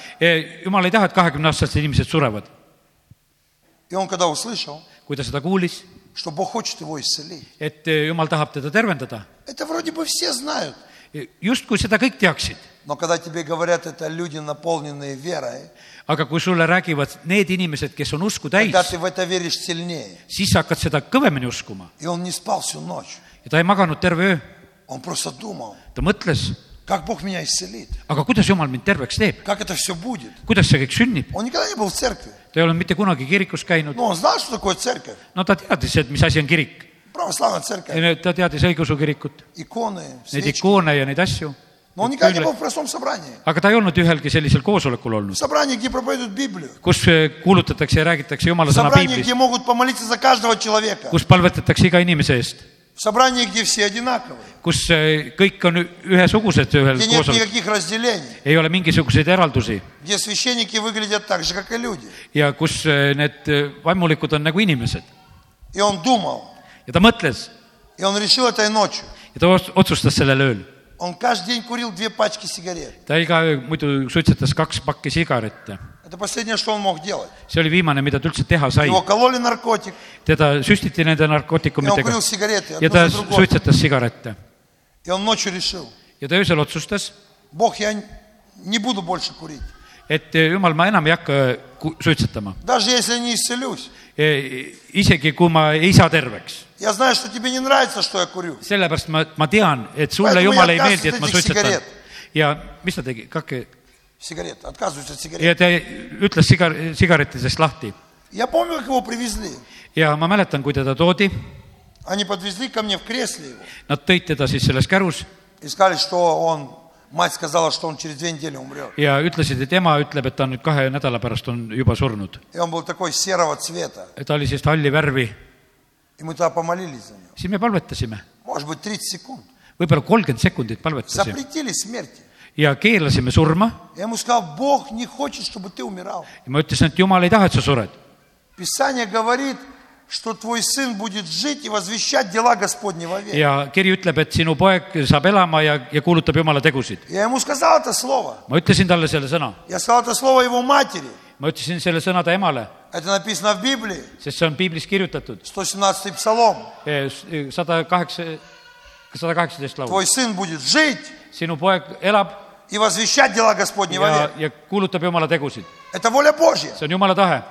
Speaker 2: jumal ei taha , et kahekümneaastased inimesed surevad .
Speaker 1: И он когда услышал,
Speaker 2: kui ta seda kuulis ,
Speaker 1: что Бог хочет его исцелить.
Speaker 2: et öö, jumal tahab teda tervendada ,
Speaker 1: Это вроде бы все знают.
Speaker 2: justkui seda kõik teaksid ,
Speaker 1: Но когда тебе говорят, это люди, наполненные верой,
Speaker 2: aga kui sulle räägivad need inimesed , kes on usku
Speaker 1: когда
Speaker 2: täis ,
Speaker 1: ты в это веришь сильнее.
Speaker 2: siis sa hakkad seda kõvemini uskuma
Speaker 1: И он не спал всю ночь.
Speaker 2: ja ta ei maganud terve öö ,
Speaker 1: Он просто думал,
Speaker 2: ta mõtles ,
Speaker 1: как Бог меня исцелит,
Speaker 2: aga kuidas jumal mind terveks teeb ,
Speaker 1: как это все будет.
Speaker 2: kuidas see kõik sünnib ,
Speaker 1: Он никогда не был в церкви,
Speaker 2: ta ei ole mitte kunagi kirikus käinud ,
Speaker 1: но он знал, что такое церковь.
Speaker 2: no ta teadis , et mis asi on kirik ,
Speaker 1: Православная церковь,
Speaker 2: ta teadis õigeusu kirikut ,
Speaker 1: иконы,
Speaker 2: neid
Speaker 1: свечки.
Speaker 2: ikoone ja neid asju ,
Speaker 1: Но он никогда не был в простом собрании.
Speaker 2: aga ta ei olnud ühelgi sellisel koosolekul
Speaker 1: В
Speaker 2: olnud ,
Speaker 1: собрании, где проповедуют Библию.
Speaker 2: kus eh, kuulutatakse ja räägitakse jumala
Speaker 1: В
Speaker 2: sõna
Speaker 1: собрании,
Speaker 2: piiblist
Speaker 1: где , могут помолиться за каждого человека.
Speaker 2: kus palvetatakse iga inimese eest ,
Speaker 1: В собрании, где все одинаковые.
Speaker 2: kus eh, kõik on ü- ühesugused ühel
Speaker 1: Где нет
Speaker 2: koosolekul ,
Speaker 1: никаких разделений.
Speaker 2: ei ole mingisuguseid eraldusi
Speaker 1: Где священники выглядят так же, как и люди.
Speaker 2: ja kus eh, need eh, vaimulikud on nagu inimesed
Speaker 1: И он думал,
Speaker 2: ja ta mõtles
Speaker 1: и он решил этой ночью.
Speaker 2: ja ta os- otsustas sellel ööl ,
Speaker 1: Он каждый день курил две пачки сигарет.
Speaker 2: ta iga öö muidu suitsetas kaks pakki sigarette ,
Speaker 1: Это последнее, что он мог делать.
Speaker 2: see oli viimane , mida ta üldse teha sai ,
Speaker 1: Его кололи наркотик,
Speaker 2: teda süstiti nende
Speaker 1: и он
Speaker 2: narkootikumidega
Speaker 1: курил сигареты, одну
Speaker 2: ja ta
Speaker 1: за другой.
Speaker 2: suitsetas sigarette
Speaker 1: И он ночью решил,
Speaker 2: ja ta öösel otsustas ,
Speaker 1: Бог, я н- не буду больше курить.
Speaker 2: et "Äh, jumal , ma enam ei hakka äh, ku- suitsetama ,
Speaker 1: Даже если не исцелюсь.
Speaker 2: isegi kui ma ei saa terveks .
Speaker 1: Я знаю, что тебе не нравится, что я курю.
Speaker 2: sellepärast ma , ma tean , et sulle
Speaker 1: Vaata,
Speaker 2: jumal
Speaker 1: ma ei
Speaker 2: ei
Speaker 1: hakka
Speaker 2: meeldi , et ma
Speaker 1: seda
Speaker 2: suitsetan
Speaker 1: sigaret- .
Speaker 2: ja mis ta tegi , kake
Speaker 1: Сигарет, отказываюсь от сигарет.
Speaker 2: ja ta ütles sigar- , sigaretidest lahti
Speaker 1: Я помню, как его привезли.
Speaker 2: ja ma mäletan , kui teda toodi ,
Speaker 1: Они подвезли ко мне в кресле его.
Speaker 2: nad tõid teda siis selles kärus
Speaker 1: И сказали, что он, мать сказала, что он через две недели умрет.
Speaker 2: ja ütlesid , et ema ütleb , et ta nüüd kahe nädala pärast on juba surnud .
Speaker 1: И он был такой серого цвета.
Speaker 2: ta oli sellist halli värvi ,
Speaker 1: И мы тогда помолились за него.
Speaker 2: siis me palvetasime ,
Speaker 1: Может быть, 30 секунд.
Speaker 2: võib-olla kolmkümmend sekundit palvetasime
Speaker 1: Запретили смерти.
Speaker 2: ja keelasime surma
Speaker 1: Я ему сказал, Бог не хочет, чтобы ты умирал.
Speaker 2: ja ma ütlesin , et jumal ei taha , et sa sured .
Speaker 1: Писание говорит, что твой сын будет жить и возвещать дела Господни вовек.
Speaker 2: ja kiri ütleb , et sinu poeg saab elama ja , ja kuulutab jumala tegusid .
Speaker 1: Я ему сказал это слово.
Speaker 2: ma ütlesin talle selle sõna ,
Speaker 1: Я сказал это слово его матери.
Speaker 2: ma ütlesin selle sõna ta emale ,
Speaker 1: Это написано в Библии,
Speaker 2: sest see on piiblis kirjutatud ,
Speaker 1: 117 псалом.
Speaker 2: sada kaheksa , sada kaheksateist laul .
Speaker 1: Твой сын будет жить
Speaker 2: sinu poeg elab
Speaker 1: и возвещать дела Господни
Speaker 2: ja
Speaker 1: вовек. ,
Speaker 2: ja kuulutab jumala tegusid ,
Speaker 1: Это воля Божья.
Speaker 2: see on jumala tahe .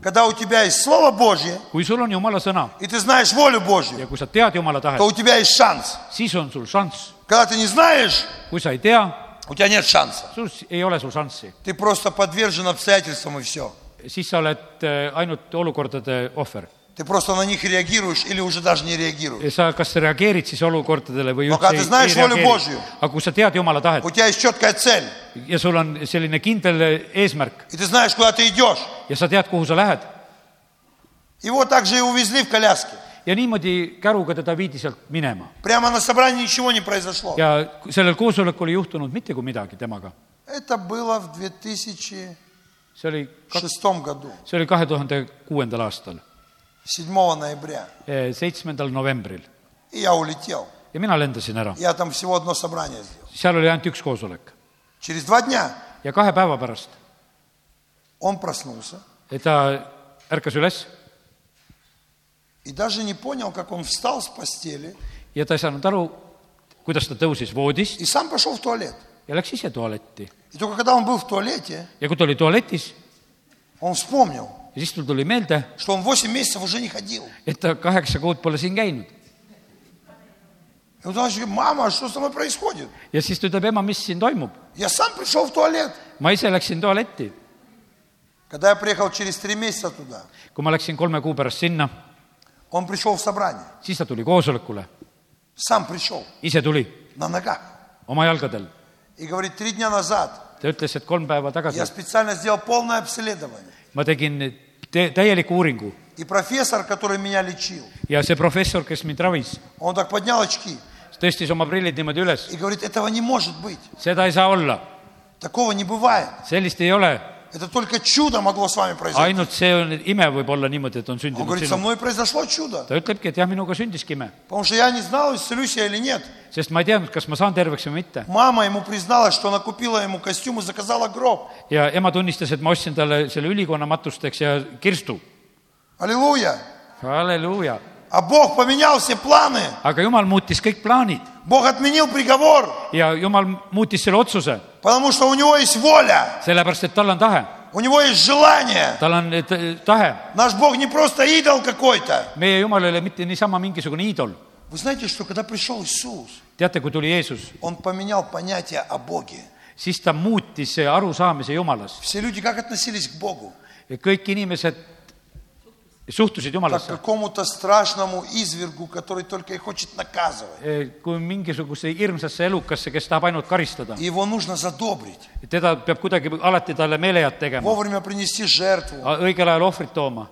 Speaker 1: Когда у тебя есть Слово Божье,
Speaker 2: kui sul on jumala sõna
Speaker 1: и ты знаешь волю Божью,
Speaker 2: ja kui sa tead jumala tahet
Speaker 1: то , у тебя есть шанс.
Speaker 2: siis on sul šanss .
Speaker 1: Когда ты не знаешь,
Speaker 2: kui sa ei tea ,
Speaker 1: у тебя нет шанса.
Speaker 2: sul s- ei ole sul šanssi ,
Speaker 1: Ты просто подвержен обстоятельствам и все.
Speaker 2: siis sa oled eh, ainult olukordade ohver .
Speaker 1: Ты просто на них реагируешь или уже даже не реагируешь.
Speaker 2: sa kas reageerid siis olukordadele või
Speaker 1: Aga ta
Speaker 2: üldse ei,
Speaker 1: znaš
Speaker 2: ei
Speaker 1: volju
Speaker 2: reageeri
Speaker 1: Božju. .
Speaker 2: aga kui sa tead Jumala tahet
Speaker 1: У тебя есть четкая цель,
Speaker 2: ja sul on selline kindel äh, eesmärk
Speaker 1: и ты знаешь, куда ты идешь.
Speaker 2: ja sa tead , kuhu sa lähed
Speaker 1: Его также и увезли в коляске.
Speaker 2: ja niimoodi käruga teda viidi sealt minema
Speaker 1: Прямо на собрании ничего не произошло.
Speaker 2: ja sellel koosolekul ei juhtunud mitte kui midagi temaga .
Speaker 1: Это было в 2006
Speaker 2: see oli ,
Speaker 1: году,
Speaker 2: see oli kahe tuhande kuuendal aastal ,
Speaker 1: 7 ноября.
Speaker 2: seitsmendal novembril
Speaker 1: И я улетел.
Speaker 2: ja mina lendasin ära ,
Speaker 1: Я там всего одно собрание сделал.
Speaker 2: seal oli ainult üks koosolek
Speaker 1: Через два дня
Speaker 2: ja kahe päeva pärast
Speaker 1: он проснулся
Speaker 2: et ta ärkas üles
Speaker 1: и даже не понял, как он встал с постели
Speaker 2: ja ta ei saanud aru , kuidas ta tõusis voodist
Speaker 1: и сам пошел в туалет.
Speaker 2: ja läks ise tualetti .
Speaker 1: И только когда он был в туалете,
Speaker 2: ja kui ta oli tualetis ,
Speaker 1: он vспомнил,
Speaker 2: siis tal tuli meelde ,
Speaker 1: что он 8 месяцев уже не ходил.
Speaker 2: et ta kaheksa kuud pole siin käinud .
Speaker 1: И он начал говорить, мама, а что со мной происходит?
Speaker 2: ja siis ta ütleb , ema , mis siin toimub ?
Speaker 1: Я сам пришел в туалет.
Speaker 2: ma ise läksin tualetti .
Speaker 1: Когда я приехал через три месяца туда,
Speaker 2: kui ma läksin kolme kuu pärast sinna ,
Speaker 1: он пришел в собрание.
Speaker 2: siis ta tuli koosolekule ,
Speaker 1: Сам пришел
Speaker 2: ise tuli
Speaker 1: на ногах.
Speaker 2: oma jalgadel .
Speaker 1: И говорит, три дня назад
Speaker 2: ta ütles , et kolm päeva
Speaker 1: я
Speaker 2: tagasi
Speaker 1: специально сделал полное обследование.
Speaker 2: ma tegin te- , täieliku uuringu
Speaker 1: И профессор, который меня лечил,
Speaker 2: ja see professor , kes mind ravis ,
Speaker 1: он так поднял очки
Speaker 2: tõstis oma prillid niimoodi üles ,
Speaker 1: и говорит, этого не может быть.
Speaker 2: seda ei saa olla ,
Speaker 1: Такого не бывает.
Speaker 2: sellist ei ole ,
Speaker 1: Это только чудо могло с вами произойти.
Speaker 2: ainult see on , ime võib olla niimoodi , et on
Speaker 1: Он
Speaker 2: sündinud
Speaker 1: говорит, со
Speaker 2: sinu .
Speaker 1: мной произошло чудо,
Speaker 2: ta ütlebki , et jah , minuga sündiski ime ,
Speaker 1: потому что я не знал, исцелюсь я или нет.
Speaker 2: sest ma ei teadnud , kas ma saan terveks või mitte .
Speaker 1: Мама ему призналась, что она купила ему костюм и заказала гроб.
Speaker 2: ja ema tunnistas , et ma ostsin talle selle ülikonna matusteks ja kirstu .
Speaker 1: Аллилуйя!
Speaker 2: halleluuja ,
Speaker 1: А Бог поменял все планы.
Speaker 2: aga jumal muutis kõik plaanid
Speaker 1: Бог отменил приговор,
Speaker 2: ja jumal muutis selle otsuse ,
Speaker 1: потому что у него есть воля,
Speaker 2: sellepärast et tal on tahe ,
Speaker 1: у него есть желание.
Speaker 2: tal on t- tahe .
Speaker 1: Наш Бог не просто идол какой-то.
Speaker 2: meie jumal ei ole mitte niisama mingisugune iidol .
Speaker 1: Вы знаете, что когда пришел Иисус,
Speaker 2: teate , kui tuli Jeesus ,
Speaker 1: он поменял понятие о Боге.
Speaker 2: siis ta muutis arusaamise Jumalast .
Speaker 1: Все люди как относились к Богу?
Speaker 2: kõik inimesed
Speaker 1: Как
Speaker 2: suhtusid
Speaker 1: к
Speaker 2: Jumalasse
Speaker 1: какому-то страшному извергу, который только и хочет наказывать.
Speaker 2: Eh, kui mingisuguse hirmsasse elukasse , kes tahab ainult karistada .
Speaker 1: И Его нужно задобрить,
Speaker 2: teda peab kuidagi alati talle meelehead tegema ,
Speaker 1: вовремя принести жертву,
Speaker 2: õigel ajal ohvrit tooma ,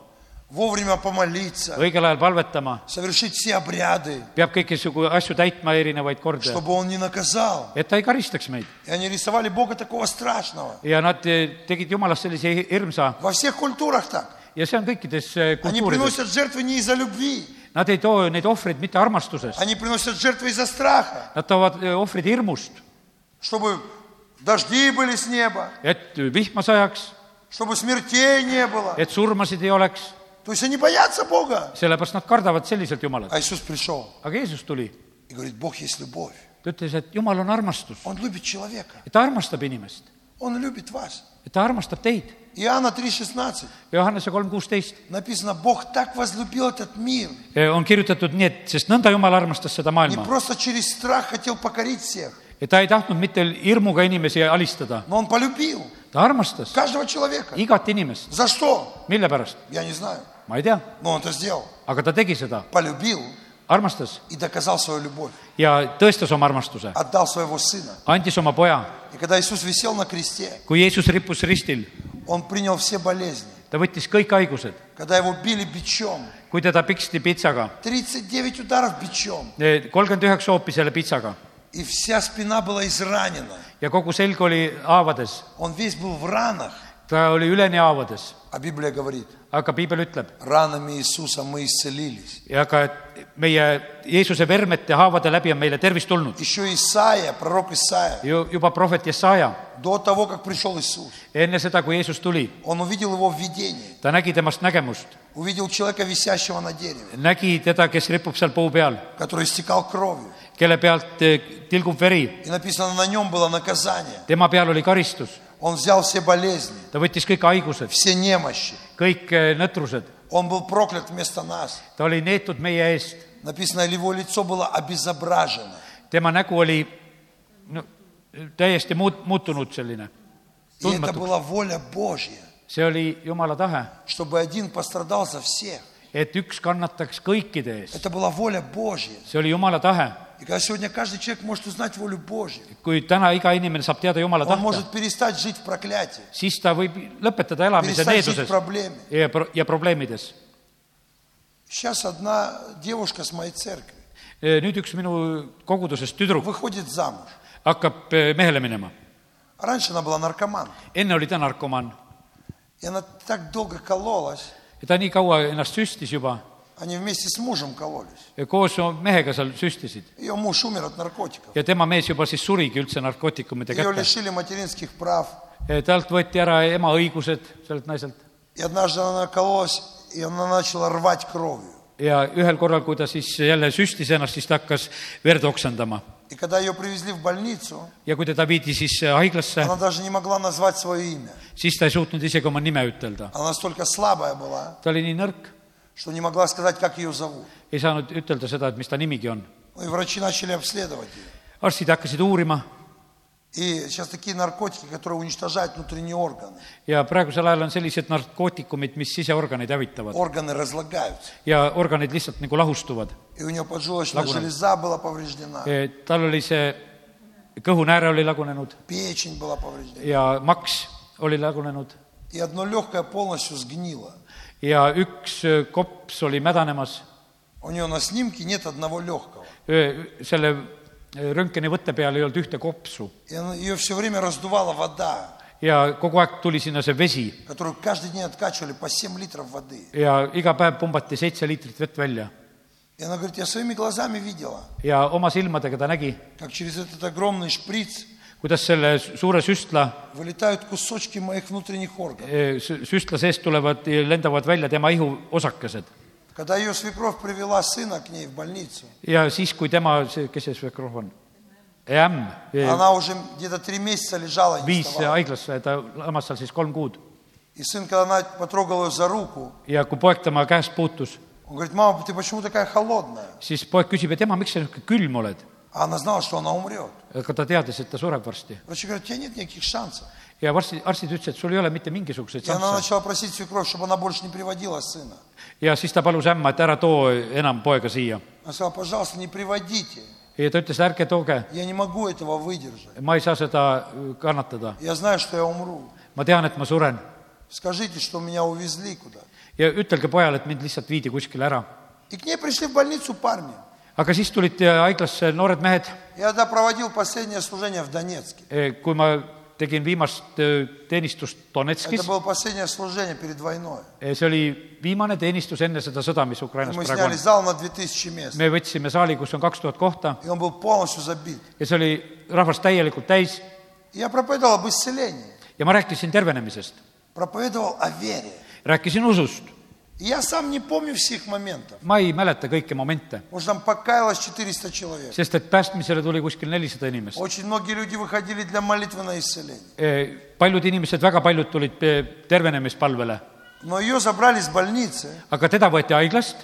Speaker 1: вовремя помолиться,
Speaker 2: õigel ajal palvetama ,
Speaker 1: совершить все обряды,
Speaker 2: peab kõiksugu asju täitma erinevaid kordi ,
Speaker 1: чтобы Он не наказал.
Speaker 2: et ta ei karistaks meid .
Speaker 1: И они рисовали Бога такого страшного.
Speaker 2: ja nad eh, tegid Jumalast sellise hirmsa
Speaker 1: Во всех культурах так.
Speaker 2: ja see on kõikides eh,
Speaker 1: Они
Speaker 2: kultuurides .
Speaker 1: приносят жертвы не из-за любви,
Speaker 2: Nad ei too neid ohvreid mitte armastusest ,
Speaker 1: они приносят жертвы из-за страха,
Speaker 2: nad toovad eh, ohvreid hirmust ,
Speaker 1: чтобы дожди были с неба,
Speaker 2: et vihma sajaks ,
Speaker 1: чтобы смертей не было.
Speaker 2: et surmasid ei oleks ,
Speaker 1: То есть они боятся Бога.
Speaker 2: sellepärast nad kardavad selliselt Jumalat .
Speaker 1: А Иисус пришел
Speaker 2: aga Jeesus tuli ,
Speaker 1: и говорит, Бог есть любовь.
Speaker 2: ta ütles , et Jumal on armastus ,
Speaker 1: Он любит человека,
Speaker 2: et ta armastab inimest ,
Speaker 1: Он любит вас.
Speaker 2: et ta armastab teid .
Speaker 1: Иоанна 3,16
Speaker 2: Johannese kolm kuusteist E,
Speaker 1: написано, Бог так возлюбил этот мир,
Speaker 2: on kirjutatud nii , et sest nõnda Jumal armastas seda
Speaker 1: не
Speaker 2: maailma ,
Speaker 1: просто через страх хотел покорить всех,
Speaker 2: et ta ei tahtnud mitte hirmuga inimesi alistada ,
Speaker 1: но Он полюбил
Speaker 2: ta armastas
Speaker 1: каждого человека.
Speaker 2: igat inimest ,
Speaker 1: За что?
Speaker 2: mille pärast ,
Speaker 1: Я не знаю.
Speaker 2: ma ei tea ,
Speaker 1: Но Он это сделал.
Speaker 2: aga ta tegi seda ,
Speaker 1: Полюбил
Speaker 2: armastas
Speaker 1: и доказал свою любовь.
Speaker 2: ja tõestas oma armastuse ,
Speaker 1: Отдал своего Сына.
Speaker 2: andis oma poja ,
Speaker 1: И когда Иисус висел на кресте,
Speaker 2: kui Jeesus rippus ristil ,
Speaker 1: Он принял все болезни.
Speaker 2: ta võttis kõik haigused ,
Speaker 1: Когда Его били бичом,
Speaker 2: kui teda piksti pitsaga ,
Speaker 1: 39 ударов бичом,
Speaker 2: kolmkümmend üheksa hoopi selle pitsaga
Speaker 1: и vся spina была изранена.
Speaker 2: ja kogu selg oli haavades ,
Speaker 1: Он весь был в ранах.
Speaker 2: ta oli üleni haavades ,
Speaker 1: А Библия говорит,
Speaker 2: aga piibel ütleb ,
Speaker 1: ранами Иисуса мы исцелились.
Speaker 2: aga et meie Jeesuse vermete haavade läbi on meile tervis tulnud .
Speaker 1: Еще Исаия, пророк Исаия,
Speaker 2: ju juba prohvet Jesaja ,
Speaker 1: до того, как пришел Иисус,
Speaker 2: enne seda , kui Jeesus tuli ,
Speaker 1: он увидел его в видении,
Speaker 2: ta nägi temast nägemust ,
Speaker 1: увидел человека, висящего на дереве,
Speaker 2: nägi teda , kes ripub seal puu peal ,
Speaker 1: который истекал кровью.
Speaker 2: kelle pealt eh, tilgub veri ,
Speaker 1: И написано, на нем было наказание.
Speaker 2: tema peal oli karistus ,
Speaker 1: Он взял все болезни,
Speaker 2: ta võttis kõik haigused ,
Speaker 1: все немощи.
Speaker 2: kõik eh, nõtrused ,
Speaker 1: Он был проклят вместо нас.
Speaker 2: ta oli neetud meie eest ,
Speaker 1: Написано, его лицо было обезображено.
Speaker 2: tema nägu oli no, täiesti muut- , muutunud selline ,
Speaker 1: И это
Speaker 2: Тунматук.
Speaker 1: была воля Божья,
Speaker 2: see oli Jumala tahe ,
Speaker 1: чтобы один пострадал за всех.
Speaker 2: et üks kannataks kõikide eest ,
Speaker 1: Это была воля Божья.
Speaker 2: see oli Jumala tahe .
Speaker 1: И когда сегодня каждый человек может узнать волю Божью,
Speaker 2: kui täna iga inimene saab teada Jumala
Speaker 1: он
Speaker 2: tahte ,
Speaker 1: может перестать жить в проклятии,
Speaker 2: siis ta võib lõpetada elamise
Speaker 1: перестать жить в
Speaker 2: needuses
Speaker 1: проблеме.
Speaker 2: ja , ja probleemides
Speaker 1: Сейчас одна девушка с моей церкви
Speaker 2: nüüd üks minu kogudusest tüdruk
Speaker 1: выходит замуж.
Speaker 2: hakkab mehele minema .
Speaker 1: Раньше она была наркоманкой.
Speaker 2: enne oli ta narkomaan
Speaker 1: И она так долго кололась.
Speaker 2: ja ta nii kaua ennast süstis juba ,
Speaker 1: Они вместе с мужем кололись.
Speaker 2: koos oma mehega seal süstisid
Speaker 1: Ее муж умер от наркотиков.
Speaker 2: ja tema mees juba siis surigi üldse narkootikumide
Speaker 1: Ее
Speaker 2: kätte .
Speaker 1: лишили материнских прав.
Speaker 2: talt võeti ära ema õigused sellelt naiselt
Speaker 1: И однажды она кололась, и она начала рвать кровью.
Speaker 2: ja ühel korral , kui ta siis jälle süstis ennast , siis ta hakkas verd oksendama
Speaker 1: И когда ее привезли в больницу,
Speaker 2: ja kui teda viidi siis äh, haiglasse ,
Speaker 1: она даже не могла назвать свое имя.
Speaker 2: siis ta ei suutnud isegi oma nime ütelda .
Speaker 1: Она настолько слабая была,
Speaker 2: ta oli nii nõrk ,
Speaker 1: что не могла сказать, как ее зовут.
Speaker 2: ei saanud ütelda seda , et mis ta nimigi on .
Speaker 1: Ну и врачи начали обследовать ее.
Speaker 2: arstid hakkasid uurima
Speaker 1: И сейчас такие наркотики, которые уничтожают внутренние органы.
Speaker 2: ja praegusel ajal on sellised narkootikumid , mis siseorganeid hävitavad
Speaker 1: Органы разлагаются.
Speaker 2: ja organid lihtsalt nagu lahustuvad .
Speaker 1: И у него поджелудочная
Speaker 2: Лагуна. Э.
Speaker 1: железа была повреждена,
Speaker 2: tal oli see , kõhunääre oli lagunenud
Speaker 1: печень была повреждена.
Speaker 2: ja maks oli lagunenud
Speaker 1: И одно легкое полностью сгнило.
Speaker 2: ja üks öö, kops oli mädanemas ,
Speaker 1: У него на снимке нет одного легкого.
Speaker 2: selle öö, röntgeni võtte peal ei olnud ühte kopsu
Speaker 1: И ее все время раздувала вода,
Speaker 2: ja kogu aeg tuli sinna see vesi
Speaker 1: которую каждый день откачивали по 7 литров воды.
Speaker 2: ja iga päev pumbati seitse liitrit vett välja
Speaker 1: И она говорит, я своими глазами видела,
Speaker 2: ja oma silmadega ta nägi ,
Speaker 1: как через этот огромный шприц
Speaker 2: kuidas selle su- suure süstla ,
Speaker 1: вылетают кусочки моих внутренних органов.
Speaker 2: süstla seest tulevad , lendavad välja tema ihuosakesed .
Speaker 1: Когда ее свекровь привела сына к ней в больницу,
Speaker 2: ja siis , kui tema , see , kes see Svekrov on ? ämm ,
Speaker 1: она уже где-то три месяца лежала и не
Speaker 2: viis
Speaker 1: вставала.
Speaker 2: haiglasse , ta lamas seal siis kolm kuud
Speaker 1: И сын, когда она потрогала ее за руку,
Speaker 2: ja kui poeg tema käest puutus ,
Speaker 1: он говорит, мама, ты почему такая холодная?
Speaker 2: siis poeg küsib , et ema , miks sa niisugune külm oled ?
Speaker 1: А она знала, что она умрет.
Speaker 2: aga ta teadis , et ta sureb varsti
Speaker 1: Врачи говорят, у тебя нет никаких шансов.
Speaker 2: ja varsti , arstid ütlesid , et sul ei ole mitte mingisuguseid
Speaker 1: И она
Speaker 2: šansse
Speaker 1: начала просить свекровь, чтобы она больше не приводила сына.
Speaker 2: ja siis ta palus ämma , et ära too enam poega siia .
Speaker 1: Она сказала, пожалуйста, не приводите.
Speaker 2: ja ta ütles , ärge tooge ,
Speaker 1: Я не могу этого выдержать.
Speaker 2: ma ei saa seda kannatada ,
Speaker 1: Я знаю, что я умру.
Speaker 2: ma tean , et ma suren
Speaker 1: Скажите, что меня увезли куда-то.
Speaker 2: ja ütelge pojale , et mind lihtsalt viidi kuskile ära .
Speaker 1: И к ней пришли в больницу парни.
Speaker 2: aga siis tulid eh, haiglasse noored mehed ,
Speaker 1: Я тогда проводил последнее slужение в Донецке.
Speaker 2: kui ma tegin viimast eh, teenistust
Speaker 1: Это
Speaker 2: Donetskis ,
Speaker 1: было последнее служение перед войной.
Speaker 2: see oli viimane teenistus enne seda sõda , mis Ukrainas
Speaker 1: Мы
Speaker 2: praegu
Speaker 1: сняли
Speaker 2: on .
Speaker 1: зал на 2000 мест.
Speaker 2: me võtsime saali , kus on kaks tuhat kohta
Speaker 1: И он был полностью забит.
Speaker 2: ja see oli rahvast täielikult täis
Speaker 1: Я проповедовал об исцелении.
Speaker 2: ja ma rääkisin tervenemisest ,
Speaker 1: Проповедовал о вере.
Speaker 2: rääkisin usust .
Speaker 1: И я сам не помню всех моментов.
Speaker 2: ma ei mäleta kõiki momente ,
Speaker 1: Может, там покаялось 400 человек.
Speaker 2: sest et päästmisele tuli kuskil nelisada inimest .
Speaker 1: Очень многие люди выходили для молитвы на исцеление.
Speaker 2: Äh, paljud inimesed , väga paljud tulid eh, tervenemispalvele ,
Speaker 1: Но ее забрали с больницы
Speaker 2: aga teda võeti haiglast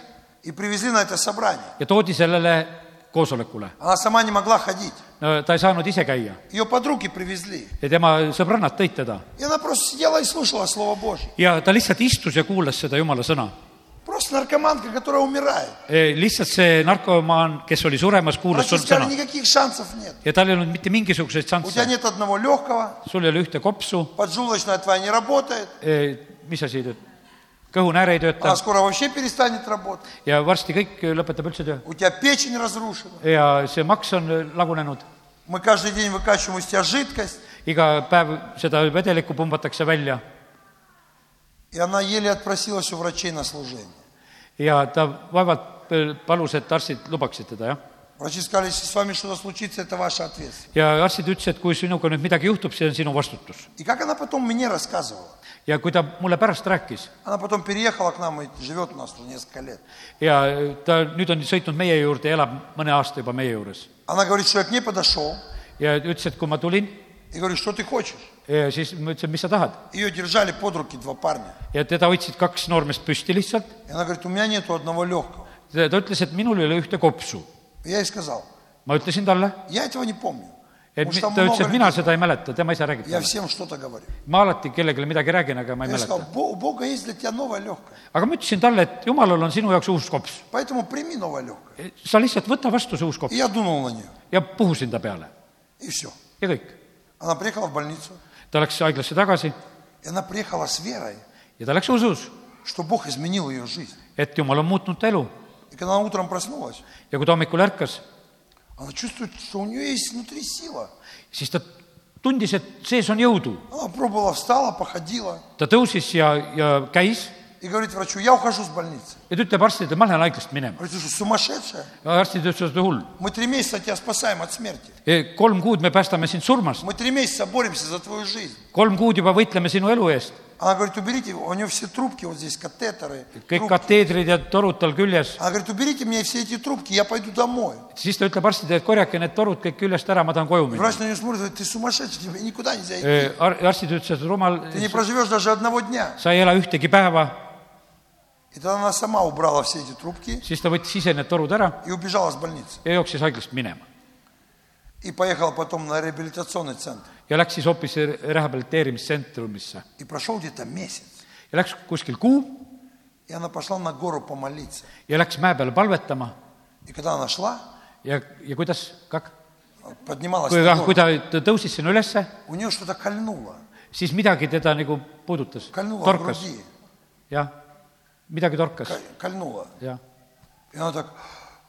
Speaker 1: и привезли на это собрание.
Speaker 2: ja toodi sellele koosolekule .
Speaker 1: Она сама не могла ходить.
Speaker 2: no ta ei saanud ise käia
Speaker 1: Ее подруги привезли.
Speaker 2: ja tema sõbrannad tõid teda
Speaker 1: И она просто сидела и слушала Слово Божье.
Speaker 2: ja ta lihtsalt istus ja kuulas seda jumala sõna .
Speaker 1: Просто наркоманка, которая умирает.
Speaker 2: lihtsalt see narkomaan , kes oli suremas , kuulas
Speaker 1: Врачи
Speaker 2: sul sõna
Speaker 1: сказали, никаких шансов нет.
Speaker 2: ja tal ei olnud mitte mingisuguseid
Speaker 1: У тебя
Speaker 2: šansse .
Speaker 1: нет одного легкого,
Speaker 2: sul ei ole ühte kopsu ,
Speaker 1: поджелудочная твоя не работает,
Speaker 2: mis asi ta , kõhunääre ei tööta
Speaker 1: она скоро вообще перестанет работать.
Speaker 2: ja varsti kõik lõpetab üldse töö
Speaker 1: У тебя pечень разрушена.
Speaker 2: ja see maks on lagunenud .
Speaker 1: Мы каждый день выкачиваем из тебя жидкость,
Speaker 2: iga päev seda vedelikku pumbatakse välja
Speaker 1: и она еле отпросилась у врачей на служение.
Speaker 2: ja ta vaevalt palus , et arstid lubaksid teda , jah .
Speaker 1: Врачи сказали, если с вами что-то случится, это ваша ответственность.
Speaker 2: ja arstid ütlesid , et kui sinuga nüüd midagi juhtub , see on sinu vastutus .
Speaker 1: И как она потом мне рассказывала.
Speaker 2: ja kui ta mulle pärast rääkis
Speaker 1: Она потом переехала к нам и живет у нас уже несколько лет.
Speaker 2: ja ta nüüd on sõitnud meie juurde ja elab mõne aasta juba meie juures
Speaker 1: Она говорит, что я к ней подошел
Speaker 2: ja ütles , et kui ma tulin ,
Speaker 1: и говорю, что ты хочешь?
Speaker 2: siis ma ütlesin , mis sa tahad
Speaker 1: Ее держали под руки два парня.
Speaker 2: ja teda hoidsid kaks noormeest püsti lihtsalt .
Speaker 1: И она говорит, у меня нету одного легкого.
Speaker 2: ta ta ütles , et minul ei ole ühte kopsu .
Speaker 1: И я ей сказал,
Speaker 2: ma ütlesin talle ,
Speaker 1: я этого не помню.
Speaker 2: et
Speaker 1: Потому
Speaker 2: mi-
Speaker 1: что там
Speaker 2: ta ütles ,
Speaker 1: много
Speaker 2: et mina
Speaker 1: людей.
Speaker 2: seda ei mäleta , tema ise räägib
Speaker 1: Я
Speaker 2: talle .
Speaker 1: всем что-то говорю.
Speaker 2: ma alati kellelegi midagi räägin , aga ma ei
Speaker 1: Я сказал,
Speaker 2: mäleta .
Speaker 1: «Бо- у Бога есть для тебя новое легкое.
Speaker 2: aga ma ütlesin talle , et jumalal on sinu jaoks uus kops .
Speaker 1: Поэтому прими новое легкое.
Speaker 2: sa lihtsalt võta vastu see uus kops
Speaker 1: И я дунул на нее.
Speaker 2: ja puhusin ta peale
Speaker 1: И все.
Speaker 2: ja kõik .
Speaker 1: Она приехала в больницу.
Speaker 2: ta läks haiglasse tagasi
Speaker 1: И она приехала с верой,
Speaker 2: ja ta läks usus ,
Speaker 1: что Бог изменил ее жизнь.
Speaker 2: et jumal on muutnud ta elu
Speaker 1: И когда она утром проснулась,
Speaker 2: ja kui ta hommikul ärkas ,
Speaker 1: она чувствует, что у нее есть внутри сила.
Speaker 2: siis ta tundis , et sees on jõudu .
Speaker 1: Она пробовала, встала, походила.
Speaker 2: ta tõusis ja , ja käis
Speaker 1: И говорит врачу, я ухожу с больницы.
Speaker 2: ja ta ütleb arstidele , ma lähen haiglast minema .
Speaker 1: Говорит, ты что, сумасшедшая?
Speaker 2: arstid ütlesid , et hull ,
Speaker 1: Мы три месяца тебя спасаем от смерти.
Speaker 2: kolm kuud me päästame sind surmast ,
Speaker 1: Мы три месяца боремся за твою жизнь.
Speaker 2: kolm kuud juba võitleme sinu elu eest .
Speaker 1: Она говорит, уберите, у нее все трубки, вот здесь катетеры.
Speaker 2: kõik
Speaker 1: трубки.
Speaker 2: kateedrid ja torud tal küljes .
Speaker 1: Она говорит, уберите мне все эти трубки, я пойду домой.
Speaker 2: siis ta ütleb arstidele , et korjake need torud kõik küljest ära , ma tahan koju minna
Speaker 1: Врач на нее смотрит, говорит, ты sumасшедший, тебе никуда нельзя идти.
Speaker 2: Ö, ar- arstid ütlesid , et rumal ,
Speaker 1: Ты не проживешь даже одного дня.
Speaker 2: sa ei ela ühtegi päeva ,
Speaker 1: И тогда она сама убрала все эти трубки
Speaker 2: siis ta võttis ise need torud ära
Speaker 1: и убежала с больницы.
Speaker 2: ja jooksis haiglast minema .
Speaker 1: и поехал потом на реабилитационный центр.
Speaker 2: ja läks siis hoopis rehabiliteerimisstsentrumisse
Speaker 1: И прошел где-то месяц.
Speaker 2: ja läks kuskil kuu
Speaker 1: И она пошла на гору помолиться.
Speaker 2: ja läks mäe peale palvetama
Speaker 1: И когда она шла,
Speaker 2: ja , ja kuidas , kak- ,
Speaker 1: поднималась
Speaker 2: kui ,
Speaker 1: на гору,
Speaker 2: kui ta t- tõusis sinna ülesse ,
Speaker 1: у нее что-то кольнуло.
Speaker 2: siis midagi teda nagu puudutas ,
Speaker 1: Кольнуло в
Speaker 2: torkas ,
Speaker 1: груди.
Speaker 2: jah , midagi torkas ,
Speaker 1: ко- Кольнуло.
Speaker 2: jah .
Speaker 1: И она так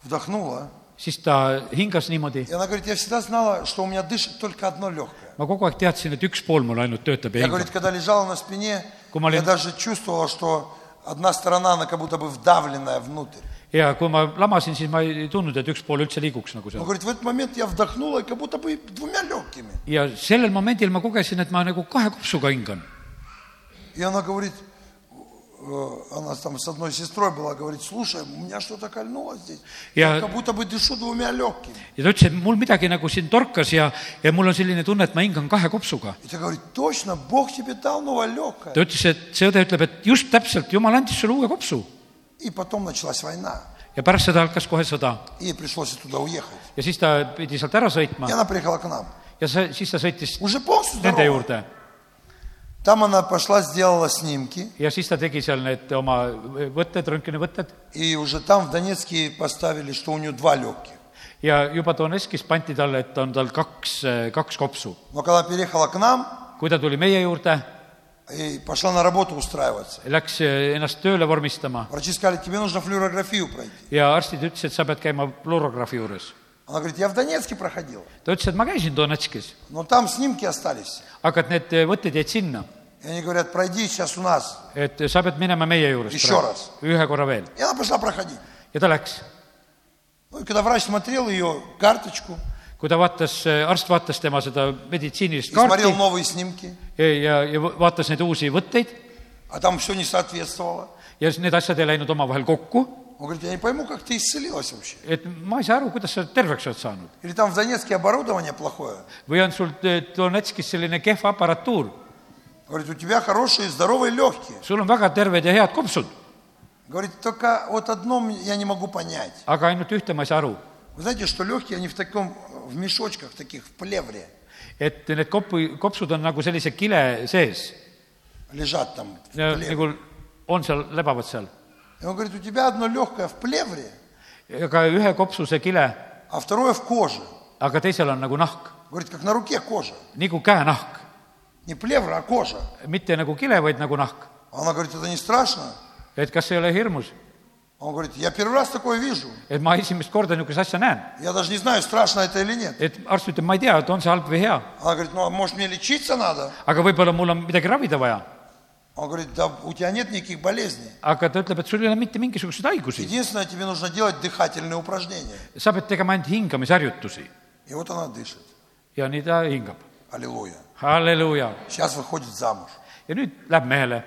Speaker 1: вдохнула.
Speaker 2: siis ta hingas niimoodi ,
Speaker 1: И она говорит, я всегда знала, что у меня дышит только одно легкое.
Speaker 2: ma kogu aeg teadsin , et üks pool mul ainult töötab ja
Speaker 1: Я, говорит,
Speaker 2: hingab .
Speaker 1: когда лежала на спине,
Speaker 2: Кумалин.
Speaker 1: я даже чувствовала, что одна сторона, она как будто бы вдавленная внутрь.
Speaker 2: ja kui ma lamasin , siis ma ei ei tundnud , et üks pool üldse liiguks nagu
Speaker 1: Он
Speaker 2: seal .
Speaker 1: говорит, в этот момент я вдохнула, и как будто бы двумя легкими.
Speaker 2: ja sellel momendil ma kogesin , et ma nagu kahe kopsuga hingan .
Speaker 1: И она говорит, э, она там с одной сестрой была, говорит, слушай, у меня что-то кольнуло здесь.
Speaker 2: Я-
Speaker 1: как будто бы дышу двумя легкими.
Speaker 2: ja ta ütles , et mul midagi nagu siin torkas ja , ja mul on selline tunne , et ma hingan kahe kopsuga .
Speaker 1: И ты говорит, точно, Бог тебе дал новое легкое.
Speaker 2: ta ütles , et see õde ütleb , et just täpselt , jumal andis sulle uue kopsu .
Speaker 1: И потом началась война.
Speaker 2: ja pärast seda hakkas kohe sõda
Speaker 1: И ей пришлось оттуда уехать.
Speaker 2: ja siis ta pidi sealt ära sõitma
Speaker 1: И она приехала к нам.
Speaker 2: ja see , siis ta sõitis
Speaker 1: Уже полностью
Speaker 2: nende
Speaker 1: здорова.
Speaker 2: juurde
Speaker 1: Там она пошла, сделала снимки.
Speaker 2: ja siis ta tegi seal need oma võtted , röntgenivõtted
Speaker 1: И уже там в Донецке поставили, что у нее два легких.
Speaker 2: ja juba Donetskis pandi talle , et on tal kaks , kaks kopsu .
Speaker 1: Но когда переехала к нам
Speaker 2: kui ta tuli meie juurde ,
Speaker 1: и пошла на работу устраиваться,
Speaker 2: läks ennast tööle vormistama
Speaker 1: врачи сказали, тебе нужно флюорографию пройти.
Speaker 2: ja arstid ütlesid , sa pead käima fluorograafi juures .
Speaker 1: Она говорит, я в Донецке проходила,
Speaker 2: ta ütles , et ma käisin Donetskis ,
Speaker 1: но там снимки остались.
Speaker 2: aga et need võtted jäid sinna ,
Speaker 1: И они говорят, пройди сейчас у нас.
Speaker 2: et sa pead minema meie juures
Speaker 1: Mis
Speaker 2: praegu.
Speaker 1: juures?
Speaker 2: ühe korra veel
Speaker 1: И она пошла проходить.
Speaker 2: ja ta läks .
Speaker 1: Ну и когда врач смотрел ее карточку
Speaker 2: kui ta vaatas , arst vaatas tema seda meditsiinilist
Speaker 1: и смотрел
Speaker 2: kaarti
Speaker 1: новые снимки,
Speaker 2: ja , ja vaatas neid uusi võtteid
Speaker 1: а там все не соответствовало,
Speaker 2: ja siis need asjad ei läinud omavahel kokku ,
Speaker 1: он говорит, я не пойму, как ты исцелилась вообще.
Speaker 2: et ma ei saa aru , kuidas sa terveks oled saanud .
Speaker 1: Или там в Донецке оборудование плохое.
Speaker 2: või on sul eh, Donetskis selline kehv aparatuur ,
Speaker 1: Говорит, у тебя хорошие, здоровые, легкие.
Speaker 2: sul on väga terved ja head kopsud ,
Speaker 1: Говорит, только вот одно мне- я не могу понять.
Speaker 2: aga ainult ühte ma ei saa aru ,
Speaker 1: Вы знаете, что легкие, они в таком, в мешочках таких, в плевре
Speaker 2: et need kopu , kopsud on nagu sellise kile sees ,
Speaker 1: лежат там. в плевре.
Speaker 2: nagu on seal , lebavad seal .
Speaker 1: И он говорит, у тебя одно легкое в плевре,
Speaker 2: aga ühe kopsuse kile ,
Speaker 1: а второе в коже.
Speaker 2: aga teisel on nagu nahk ,
Speaker 1: Говорит, как на руке кожа.
Speaker 2: nagu käenahk ,
Speaker 1: Не плевра, а кожа.
Speaker 2: mitte nagu kile , vaid nagu nahk .
Speaker 1: Она говорит, это не страшно?
Speaker 2: et kas ei ole hirmus ,
Speaker 1: Он говорит, я первый раз такое вижу.
Speaker 2: et ma esimest korda niisugust asja näen ,
Speaker 1: Я даже не знаю, страшно это или нет.
Speaker 2: et arst ütleb , ma ei tea , et on see halb või hea ,
Speaker 1: Она говорит, ну а может мне лечиться надо?
Speaker 2: aga võib-olla mul on midagi ravida vaja .
Speaker 1: Он говорит, да у тебя нет никаких болеznей.
Speaker 2: aga ta ütleb , et sul ei ole mitte mingisuguseid haigusi ,
Speaker 1: Единственное, тебе нужно делать дыхательные упражнения.
Speaker 2: sa pead tegema ainult hingamisharjutusi
Speaker 1: И вот она дышит.
Speaker 2: ja nii ta hingab .
Speaker 1: Аллилуйя.
Speaker 2: halleluuja .
Speaker 1: Сейчас выходит замуж.
Speaker 2: ja nüüd läheb mehele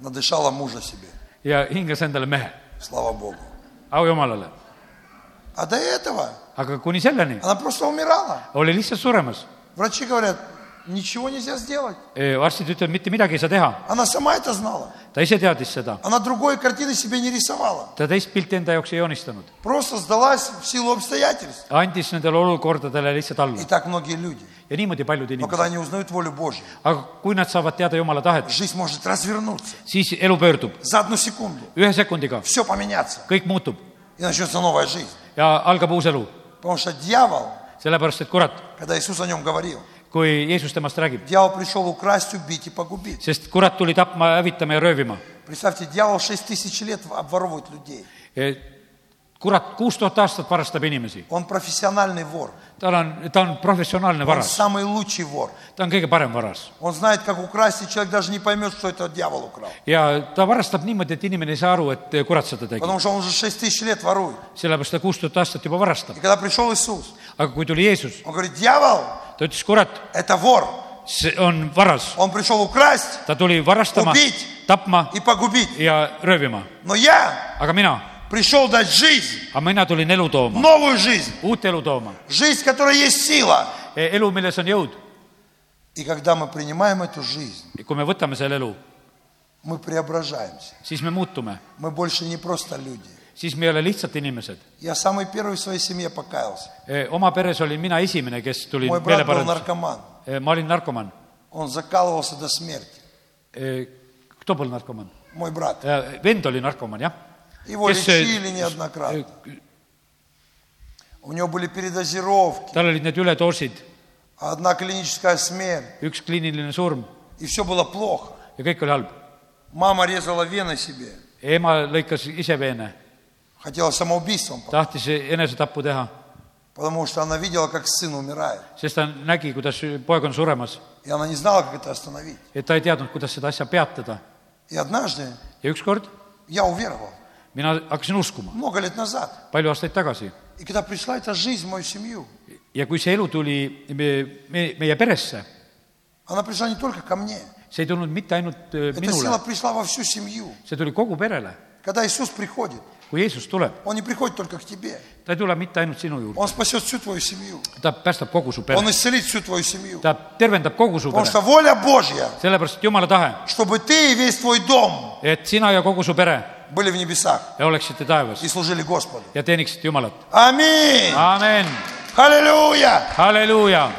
Speaker 1: Надышала мужа себе.
Speaker 2: ja hingas endale mehe ,
Speaker 1: Слава Богу.
Speaker 2: au jumalale .
Speaker 1: А до этого
Speaker 2: aga kuni selleni
Speaker 1: она просто умирала.
Speaker 2: oli lihtsalt suremas .
Speaker 1: Врачи говорят, ничего нельзя сделать.
Speaker 2: arstid ütlevad , mitte midagi ei saa teha ,
Speaker 1: Она сама это знала.
Speaker 2: ta ise teadis seda ,
Speaker 1: Она другой картины себе не рисовала.
Speaker 2: ta teist pilti enda jaoks ei joonistanud ,
Speaker 1: Просто сдалась в силу обстоятельств.
Speaker 2: andis nendele olukordadele lihtsalt alla
Speaker 1: И так многие люди.
Speaker 2: ja niimoodi paljud
Speaker 1: Но
Speaker 2: inimesed ,
Speaker 1: когда они узнают волю Божью,
Speaker 2: aga kui nad saavad teada Jumala tahet ,
Speaker 1: жизнь может развернуться
Speaker 2: siis elu pöördub
Speaker 1: за одну секунду.
Speaker 2: ühe sekundiga ,
Speaker 1: Все поменяться.
Speaker 2: kõik muutub
Speaker 1: И начнется новая жизнь.
Speaker 2: ja algab uus elu ,
Speaker 1: Потому что дьявол,
Speaker 2: sellepärast et kurat ,
Speaker 1: когда Иисус о нем говорил,
Speaker 2: kui Jeesus temast räägib ,
Speaker 1: дьявол пришел украсть, убить и погубить.
Speaker 2: sest kurat tuli tapma , hävitama ja röövima .
Speaker 1: Представьте, дьявол 6 тысяч лет обворовывает людей.
Speaker 2: E, kurat kuus tuhat aastat varastab inimesi ,
Speaker 1: Он профессиональный вор.
Speaker 2: tal on , ta on professionaalne
Speaker 1: Он
Speaker 2: varas ,
Speaker 1: самый лучший вор.
Speaker 2: ta on kõige parem varas
Speaker 1: Он знает, как украсть, и человек даже не поймет, что это дьявол украл.
Speaker 2: ja ta varastab niimoodi , et inimene ei saa aru , et kurat seda tegi ,
Speaker 1: Потому что он уже 6 tысяч лет ворует.
Speaker 2: sellepärast ta kuus tuhat aastat juba varastab
Speaker 1: И . когда пришел Иисус,
Speaker 2: aga kui tuli Jeesus ,
Speaker 1: он говорит, дьявол
Speaker 2: ta ütles , kurat ,
Speaker 1: – это вор.
Speaker 2: see on varas ,
Speaker 1: Он пришел украсть
Speaker 2: ta tuli varastama
Speaker 1: Убить! ,
Speaker 2: tapma
Speaker 1: и погубить.
Speaker 2: ja röövima ,
Speaker 1: Но я
Speaker 2: aga mina ,
Speaker 1: пришел дать жизнь,
Speaker 2: aga mina tulin elu tooma ,
Speaker 1: новую жизнь.
Speaker 2: uut elu tooma ,
Speaker 1: Жизнь, в которой есть сила.
Speaker 2: elu , milles on jõud .
Speaker 1: И когда мы принимаем эту жизнь,
Speaker 2: kui me võtame selle elu ,
Speaker 1: мы преображаемся.
Speaker 2: siis me muutume ,
Speaker 1: Мы больше не просто люди.
Speaker 2: siis me ei ole lihtsalt inimesed .
Speaker 1: Я самый первый в своей семье покаялся.
Speaker 2: oma peres olin mina esimene , kes tuli
Speaker 1: Мой брат был
Speaker 2: meeleparandus ,
Speaker 1: наркоман.
Speaker 2: ma olin narkomaan .
Speaker 1: Он закалывался до смерти.
Speaker 2: Kto был narkomaan ?
Speaker 1: Мой брат.
Speaker 2: vend oli narkomaan , jah .
Speaker 1: Его
Speaker 2: Kes see-
Speaker 1: лечили неоднократно. У него были передозировки,
Speaker 2: tal olid need üledoosid ,
Speaker 1: одна клиническая смерть.
Speaker 2: üks kliiniline surm
Speaker 1: И все было плохо.
Speaker 2: ja kõik oli halb .
Speaker 1: Мама резала вены себе.
Speaker 2: ema lõikas ise veene ,
Speaker 1: Хотела самоубийством, по-
Speaker 2: tahtis enesetapu teha ,
Speaker 1: потому что она видела, как сын умирает.
Speaker 2: sest ta nägi , kuidas poeg on suremas
Speaker 1: И она не знала, как это остановить.
Speaker 2: et ta ei teadnud , kuidas seda asja peatada .
Speaker 1: И однажды
Speaker 2: ja ükskord
Speaker 1: я уверовал,
Speaker 2: mina hakkasin uskuma ,
Speaker 1: много лет назад.
Speaker 2: palju aastaid tagasi ,
Speaker 1: И когда пришла эта жизнь в мою семью,
Speaker 2: ja kui see elu tuli me, me, meie peresse ,
Speaker 1: она пришла не только ко мне.
Speaker 2: see ei tulnud mitte ainult öö,
Speaker 1: Эта сила
Speaker 2: minule ,
Speaker 1: пришла во всю семью.
Speaker 2: see tuli kogu perele .
Speaker 1: Когда Иисус приходит,
Speaker 2: kui Jeesus tuleb ,
Speaker 1: Он не приходит только к тебе.
Speaker 2: ta ei tule mitte ainult sinu juurde ,
Speaker 1: Он спасет всю твою семью.
Speaker 2: ta päästab kogu su
Speaker 1: Он
Speaker 2: pere ,
Speaker 1: исцелит всю твою семью.
Speaker 2: ta tervendab kogu su
Speaker 1: Потому
Speaker 2: pere
Speaker 1: что , воля Божья,
Speaker 2: sellepärast et Jumala tahe ,
Speaker 1: чтобы ты и весь твой дом
Speaker 2: et sina ja kogu su pere
Speaker 1: были в небесах
Speaker 2: oleksite taevas
Speaker 1: и служили Господу.
Speaker 2: ja teeniksite Jumalat .
Speaker 1: Аминь!
Speaker 2: amen ,
Speaker 1: Аллилуйя!
Speaker 2: halleluuja ,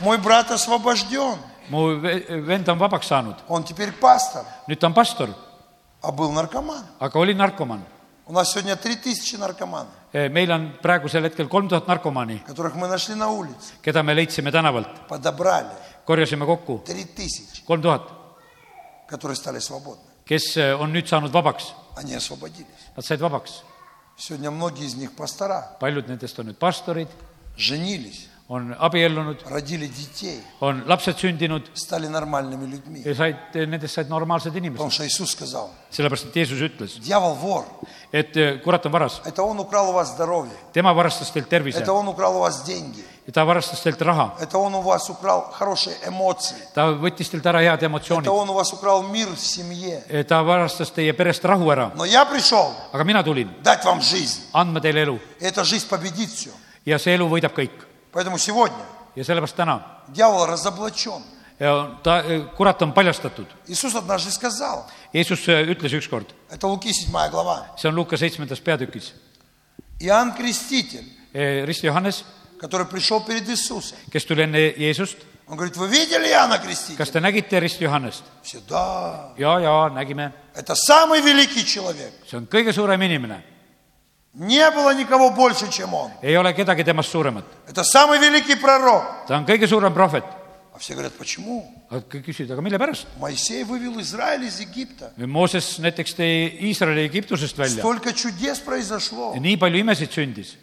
Speaker 1: Мой брат освобожден.
Speaker 2: mu ve- vend on vabaks saanud ,
Speaker 1: Он теперь пастор,
Speaker 2: nüüd ta on pastor ,
Speaker 1: а был наркоман.
Speaker 2: aga oli narkomaan Eh,
Speaker 1: У нас сегодня 3000 наркоманов,
Speaker 2: meil on praegusel hetkel kolm tuhat narkomaani ,
Speaker 1: которых мы нашли на улице,
Speaker 2: keda me leidsime tänavalt ,
Speaker 1: подобрали.
Speaker 2: korjasime kokku
Speaker 1: 3000,
Speaker 2: kolm tuhat ,
Speaker 1: которые стали свободны.
Speaker 2: kes eh, on nüüd saanud vabaks ,
Speaker 1: Они освободились.
Speaker 2: nad said vabaks .
Speaker 1: Сегодня многие из них пастора,
Speaker 2: paljud nendest on nüüd pastorid ,
Speaker 1: женились,
Speaker 2: on abiellunud ,
Speaker 1: родили детей,
Speaker 2: on lapsed sündinud
Speaker 1: стали nормальными людьми.
Speaker 2: ja said , nendest said normaalsed
Speaker 1: Потому
Speaker 2: inimesed ,
Speaker 1: что Иисус сказал,
Speaker 2: sellepärast et Jeesus ütles ,
Speaker 1: дьявол вор,
Speaker 2: et "Äh, kurat on varas ,
Speaker 1: это он украл у вас здоровье,
Speaker 2: tema varastas teilt tervise
Speaker 1: это он украл у вас деньги,
Speaker 2: ja ta varastas teilt raha ,
Speaker 1: это он у вас украл хорошие эмоции,
Speaker 2: ta võttis teilt ära head
Speaker 1: это
Speaker 2: emotsioonid ,
Speaker 1: он у вас украл mир в семье.
Speaker 2: ta varastas teie perest rahu ära ,
Speaker 1: Но я пришел
Speaker 2: aga mina tulin
Speaker 1: дать вам жизнь.
Speaker 2: andma teile elu
Speaker 1: И эта жизнь победит все.
Speaker 2: ja see elu võidab kõik
Speaker 1: Поэтому сегодня
Speaker 2: ja sellepärast täna
Speaker 1: дьявол разоблачен.
Speaker 2: ja ta , kurat on paljastatud .
Speaker 1: Иисус однажды сказал,
Speaker 2: Jeesus äh, ütles ükskord ,
Speaker 1: это Луки 7 глава,
Speaker 2: see on Luuka seitsmendas peatükis ,
Speaker 1: Иоанн Креститель,
Speaker 2: Rist Johannes ,
Speaker 1: который пришел перед Иисусом.
Speaker 2: kes tuli enne Jeesust ,
Speaker 1: Он говорит, вы видели Иоанна
Speaker 2: kas
Speaker 1: Крестителя?
Speaker 2: te nägite Rist Johannest ?
Speaker 1: Все, да,
Speaker 2: ja , ja nägime ,
Speaker 1: это самый великий человек.
Speaker 2: see on kõige suurem inimene ,
Speaker 1: Не было никого больше, чем он.
Speaker 2: ei ole kedagi temast suuremat ,
Speaker 1: Это самый великий пророк.
Speaker 2: ta on kõige suurem prohvet .
Speaker 1: А все говорят, почему?
Speaker 2: aga kõik küsivad , aga mille pärast ?
Speaker 1: Моисей вывел Израиль из Египта.
Speaker 2: Mooses näiteks tõi Iisraeli Egiptusest välja ,
Speaker 1: Столько чудес произошло.
Speaker 2: nii palju imesid sündis .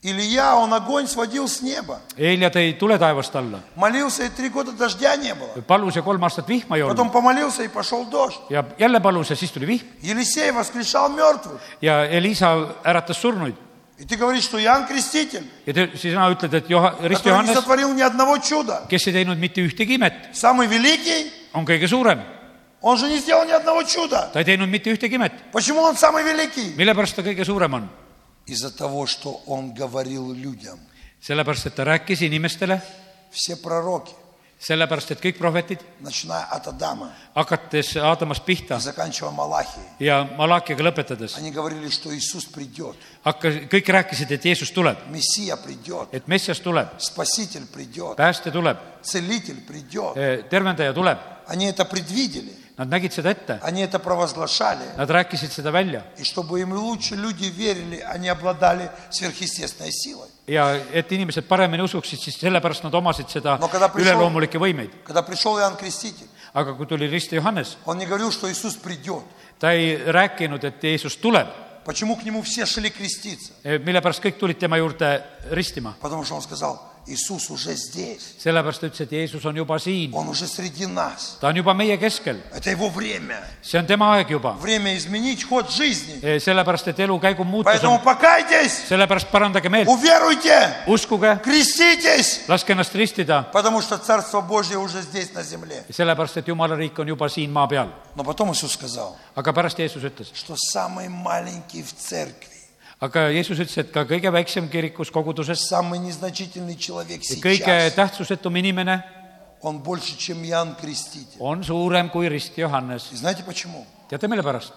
Speaker 1: Илья, он огонь сводил с неба.
Speaker 2: Helja tõi tule taevast alla ,
Speaker 1: Молился, и три года дождя не было.
Speaker 2: palus ja kolm aastat vihma ei olnud
Speaker 1: Потом помолился и пошел дождь.
Speaker 2: ja jälle palus ja siis tuli vihm
Speaker 1: Елисей воскрешал мертвых.
Speaker 2: ja Elisa äratas surnuid
Speaker 1: И ты говоришь, что Иоанн Креститель,
Speaker 2: ja te, siis sina ütled , et Joha- , Rist
Speaker 1: который не
Speaker 2: Johannes ,
Speaker 1: сотворил ни одного чуда,
Speaker 2: kes ei teinud mitte ühtegi imet ,
Speaker 1: самый великий,
Speaker 2: on kõige suurem .
Speaker 1: он же не сделал ни одного чуда.
Speaker 2: ta ei teinud mitte ühtegi imet ,
Speaker 1: Почему он самый великий?
Speaker 2: mille pärast ta kõige suurem on ?
Speaker 1: Из-за того, что он говорил людям.
Speaker 2: sellepärast , et ta rääkis inimestele ,
Speaker 1: Все пророки,
Speaker 2: sellepärast et kõik prohvetid ,
Speaker 1: начиная от Адама
Speaker 2: hakates Aadamast pihta
Speaker 1: и заканчивая Малахией,
Speaker 2: ja Malakiaga lõpetades ,
Speaker 1: они говорили, что Иисус придет,
Speaker 2: hakkas , kõik rääkisid , et Jeesus tuleb ,
Speaker 1: Мессия придет,
Speaker 2: et Messias tuleb ,
Speaker 1: Спаситель придет,
Speaker 2: päästja tuleb ,
Speaker 1: Целитель придет.
Speaker 2: tervendaja tuleb .
Speaker 1: Они это предвидели,
Speaker 2: Nad nägid seda ette ,
Speaker 1: они это провозглашали.
Speaker 2: nad rääkisid seda välja
Speaker 1: И чтобы им лучше люди верили, они обладали сверхъестественной силой.
Speaker 2: ja et inimesed paremini usuksid , siis sellepärast nad omasid seda
Speaker 1: No kada prišol-
Speaker 2: üleloomulikke võimeid .
Speaker 1: Когда пришел Иоанн Креститель,
Speaker 2: aga kui tuli Rist Johannes ,
Speaker 1: он не говорил, что Иисус придет.
Speaker 2: ta ei rääkinud , et Jeesus tuleb ,
Speaker 1: Почему к нему все шли креститься?
Speaker 2: mille pärast kõik tulid tema juurde ristima .
Speaker 1: Потому что он сказал, Иисус уже здесь,
Speaker 2: sellepärast ta ütles , et Jeesus on juba siin ,
Speaker 1: он уже среди нас.
Speaker 2: ta on juba meie keskel ,
Speaker 1: Это его время.
Speaker 2: see on tema aeg juba .
Speaker 1: Время изменить ход жизни.
Speaker 2: sellepärast , et elu käigu muutus
Speaker 1: Поэтому
Speaker 2: on ,
Speaker 1: покайтесь,
Speaker 2: sellepärast parandage meelt ,
Speaker 1: уверуйте,
Speaker 2: uskuge ,
Speaker 1: креститесь,
Speaker 2: laske ennast ristida ,
Speaker 1: потому что Царство Божье уже здесь, на земле.
Speaker 2: sellepärast et Jumala riik on juba siin maa peal .
Speaker 1: Но потом Иисус сказал,
Speaker 2: aga pärast Jeesus ütles ,
Speaker 1: что самый маленький в церкви,
Speaker 2: aga Jeesus ütles , et ka kõige väiksem kirikus , koguduses ,
Speaker 1: самый незначительный человек
Speaker 2: kõige
Speaker 1: сейчас,
Speaker 2: tähtsusetum inimene
Speaker 1: он больше, чем Иоанн Креститель.
Speaker 2: on suurem kui Rist Johannes
Speaker 1: И . знаете почему?
Speaker 2: teate , mille pärast ?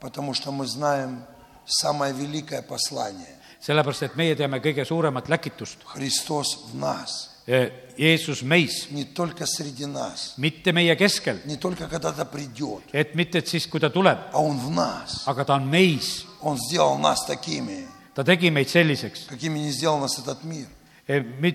Speaker 1: Потому что мы знаем, самое великое послание.
Speaker 2: sellepärast et meie teame kõige suuremat läkitust .
Speaker 1: Христос в нас,
Speaker 2: Jeesus meis ,
Speaker 1: не только среди нас,
Speaker 2: mitte meie keskel ,
Speaker 1: не только когда-то придет,
Speaker 2: et mitte , et siis , kui ta tuleb ,
Speaker 1: а Он в нас.
Speaker 2: aga ta on meis .
Speaker 1: Он сделал нас такими,
Speaker 2: ta tegi meid selliseks ,
Speaker 1: какими не сделал нас этот мир.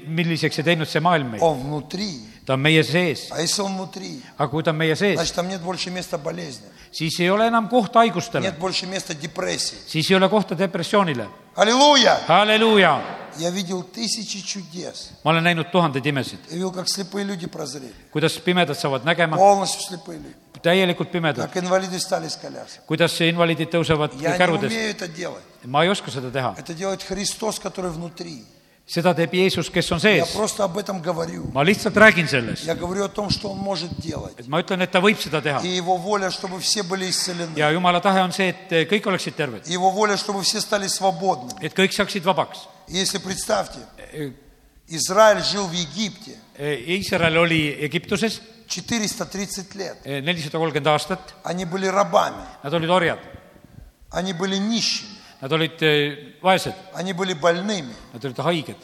Speaker 2: milliseks ei teinud see maailm meid .
Speaker 1: Он внутри.
Speaker 2: ta on meie sees ,
Speaker 1: А если Он внутри,
Speaker 2: aga kui ta on meie sees ,
Speaker 1: значит, там нет больше места болезни,
Speaker 2: siis ei ole enam kohta haigustele
Speaker 1: нет , больше места депрессии.
Speaker 2: siis ei ole kohta depressioonile .
Speaker 1: Аллилуйя!
Speaker 2: halleluuja ,
Speaker 1: Я видел tысячи чудес.
Speaker 2: ma olen näinud tuhandeid imesid ,
Speaker 1: Я видел, как слепые люди прозрели.
Speaker 2: kuidas pimedad saavad nägema ,
Speaker 1: Полностью слепые люди.
Speaker 2: täielikult pimedad ,
Speaker 1: Как инвалиды стали с колясок.
Speaker 2: kuidas invaliidid tõusevad
Speaker 1: Я не
Speaker 2: kärudest ,
Speaker 1: умею это делать.
Speaker 2: ma ei oska seda teha ,
Speaker 1: Это делает Христос, который внутри.
Speaker 2: seda teeb Jeesus , kes on
Speaker 1: Я
Speaker 2: sees .
Speaker 1: просто об этом говорю.
Speaker 2: ma lihtsalt räägin sellest ,
Speaker 1: Я говорю о том, что Он может делать.
Speaker 2: et ma ütlen , et ta võib seda teha
Speaker 1: И Его воля, чтобы все были исцелены.
Speaker 2: ja Jumala tahe on see , et eh, kõik oleksid terved ,
Speaker 1: И Его воля, чтобы все стали свободны.
Speaker 2: et kõik saaksid vabaks .
Speaker 1: И Если представьте, Израиль жил в Египте
Speaker 2: Eh, Iisrael oli Egiptuses eh,
Speaker 1: 430 лет.
Speaker 2: nelisada kolmkümmend aastat ,
Speaker 1: Они были рабами,
Speaker 2: nad olid orjad ,
Speaker 1: они были нищими,
Speaker 2: nad olid eh, vaesed ,
Speaker 1: они были больными,
Speaker 2: nad olid haiged ,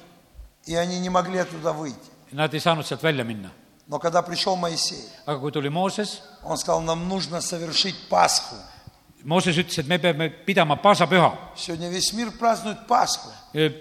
Speaker 1: и они не могли оттуда выйти.
Speaker 2: nad ei saanud sealt välja minna .
Speaker 1: Но когда пришел Моисей,
Speaker 2: aga kui tuli Mooses ,
Speaker 1: он сказал, нам нужно soвершить Пасху.
Speaker 2: Mooses ütles , et me peame pidama paasapüha .
Speaker 1: Сегодня весь мир празднует Пасху.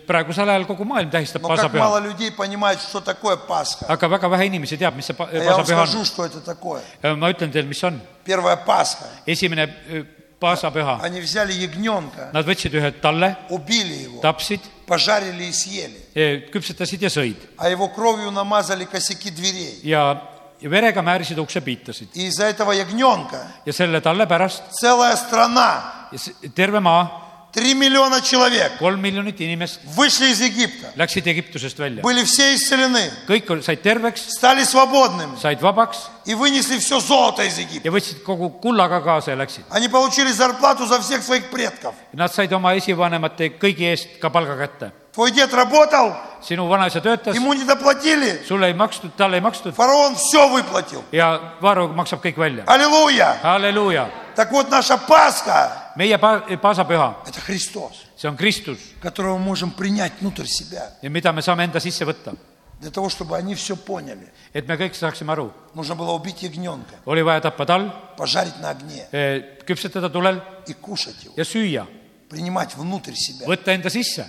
Speaker 2: praegusel ajal kogu maailm tähistab
Speaker 1: Но как мало
Speaker 2: paasapüha ,
Speaker 1: людей понимает, что такое Пасха.
Speaker 2: aga väga vähe inimesi teab , mis see pa-
Speaker 1: А я вам
Speaker 2: paasapüha on
Speaker 1: скажу, что это такое.
Speaker 2: Ja ma ütlen teile , mis on .
Speaker 1: Первая Пасха.
Speaker 2: esimene eh, paasapüha ,
Speaker 1: Они взяли ягненка,
Speaker 2: nad võtsid ühe talle ,
Speaker 1: убили его,
Speaker 2: tapsid ,
Speaker 1: пожарили и съели.
Speaker 2: küpsetasid ja sõid
Speaker 1: А его кровью намазали косяки дверей.
Speaker 2: ja ja verega määrisid ukse piitasid
Speaker 1: И из-за этого ягненка
Speaker 2: ja selle talle pärast
Speaker 1: целая страна,
Speaker 2: ja s- terve maa ,
Speaker 1: 3 миллиона человек,
Speaker 2: kolm miljonit inimest
Speaker 1: вышли из Египта.
Speaker 2: läksid Egiptusest välja ,
Speaker 1: Были все исцелены,
Speaker 2: kõik ol- said terveks ,
Speaker 1: стали свободными
Speaker 2: said vabaks
Speaker 1: и вынесли все золото из Египта.
Speaker 2: ja võtsid kogu kullaga kaasa ja läksid .
Speaker 1: Они получили зарплату за всех своих предков.
Speaker 2: Nad said oma esivanemate kõigi eest ka palga kätte .
Speaker 1: Твой дед работал,
Speaker 2: sinu vanaisa töötas ,
Speaker 1: ему не доплатили.
Speaker 2: sulle ei makstud , talle ei makstud
Speaker 1: Фараон все выплатил.
Speaker 2: ja Vaaro maksab kõik välja .
Speaker 1: Аллилуйя!
Speaker 2: halleluuja ,
Speaker 1: Так вот, наша Пасха
Speaker 2: meie pa- , paasapüha
Speaker 1: – это Христос,
Speaker 2: see on Kristus
Speaker 1: которого мы можем принять внутрь себя.
Speaker 2: ja mida me saame enda sisse võtta ,
Speaker 1: Для того, чтобы они все поняли.
Speaker 2: et me kõik saaksime aru ,
Speaker 1: Нужно было убить ягненка,
Speaker 2: oli vaja tappa tal ,
Speaker 1: пожарить на огне
Speaker 2: küpsetada tulel
Speaker 1: и кушать его.
Speaker 2: ja süüa ,
Speaker 1: Принимать внутрь себя.
Speaker 2: võtta enda sisse .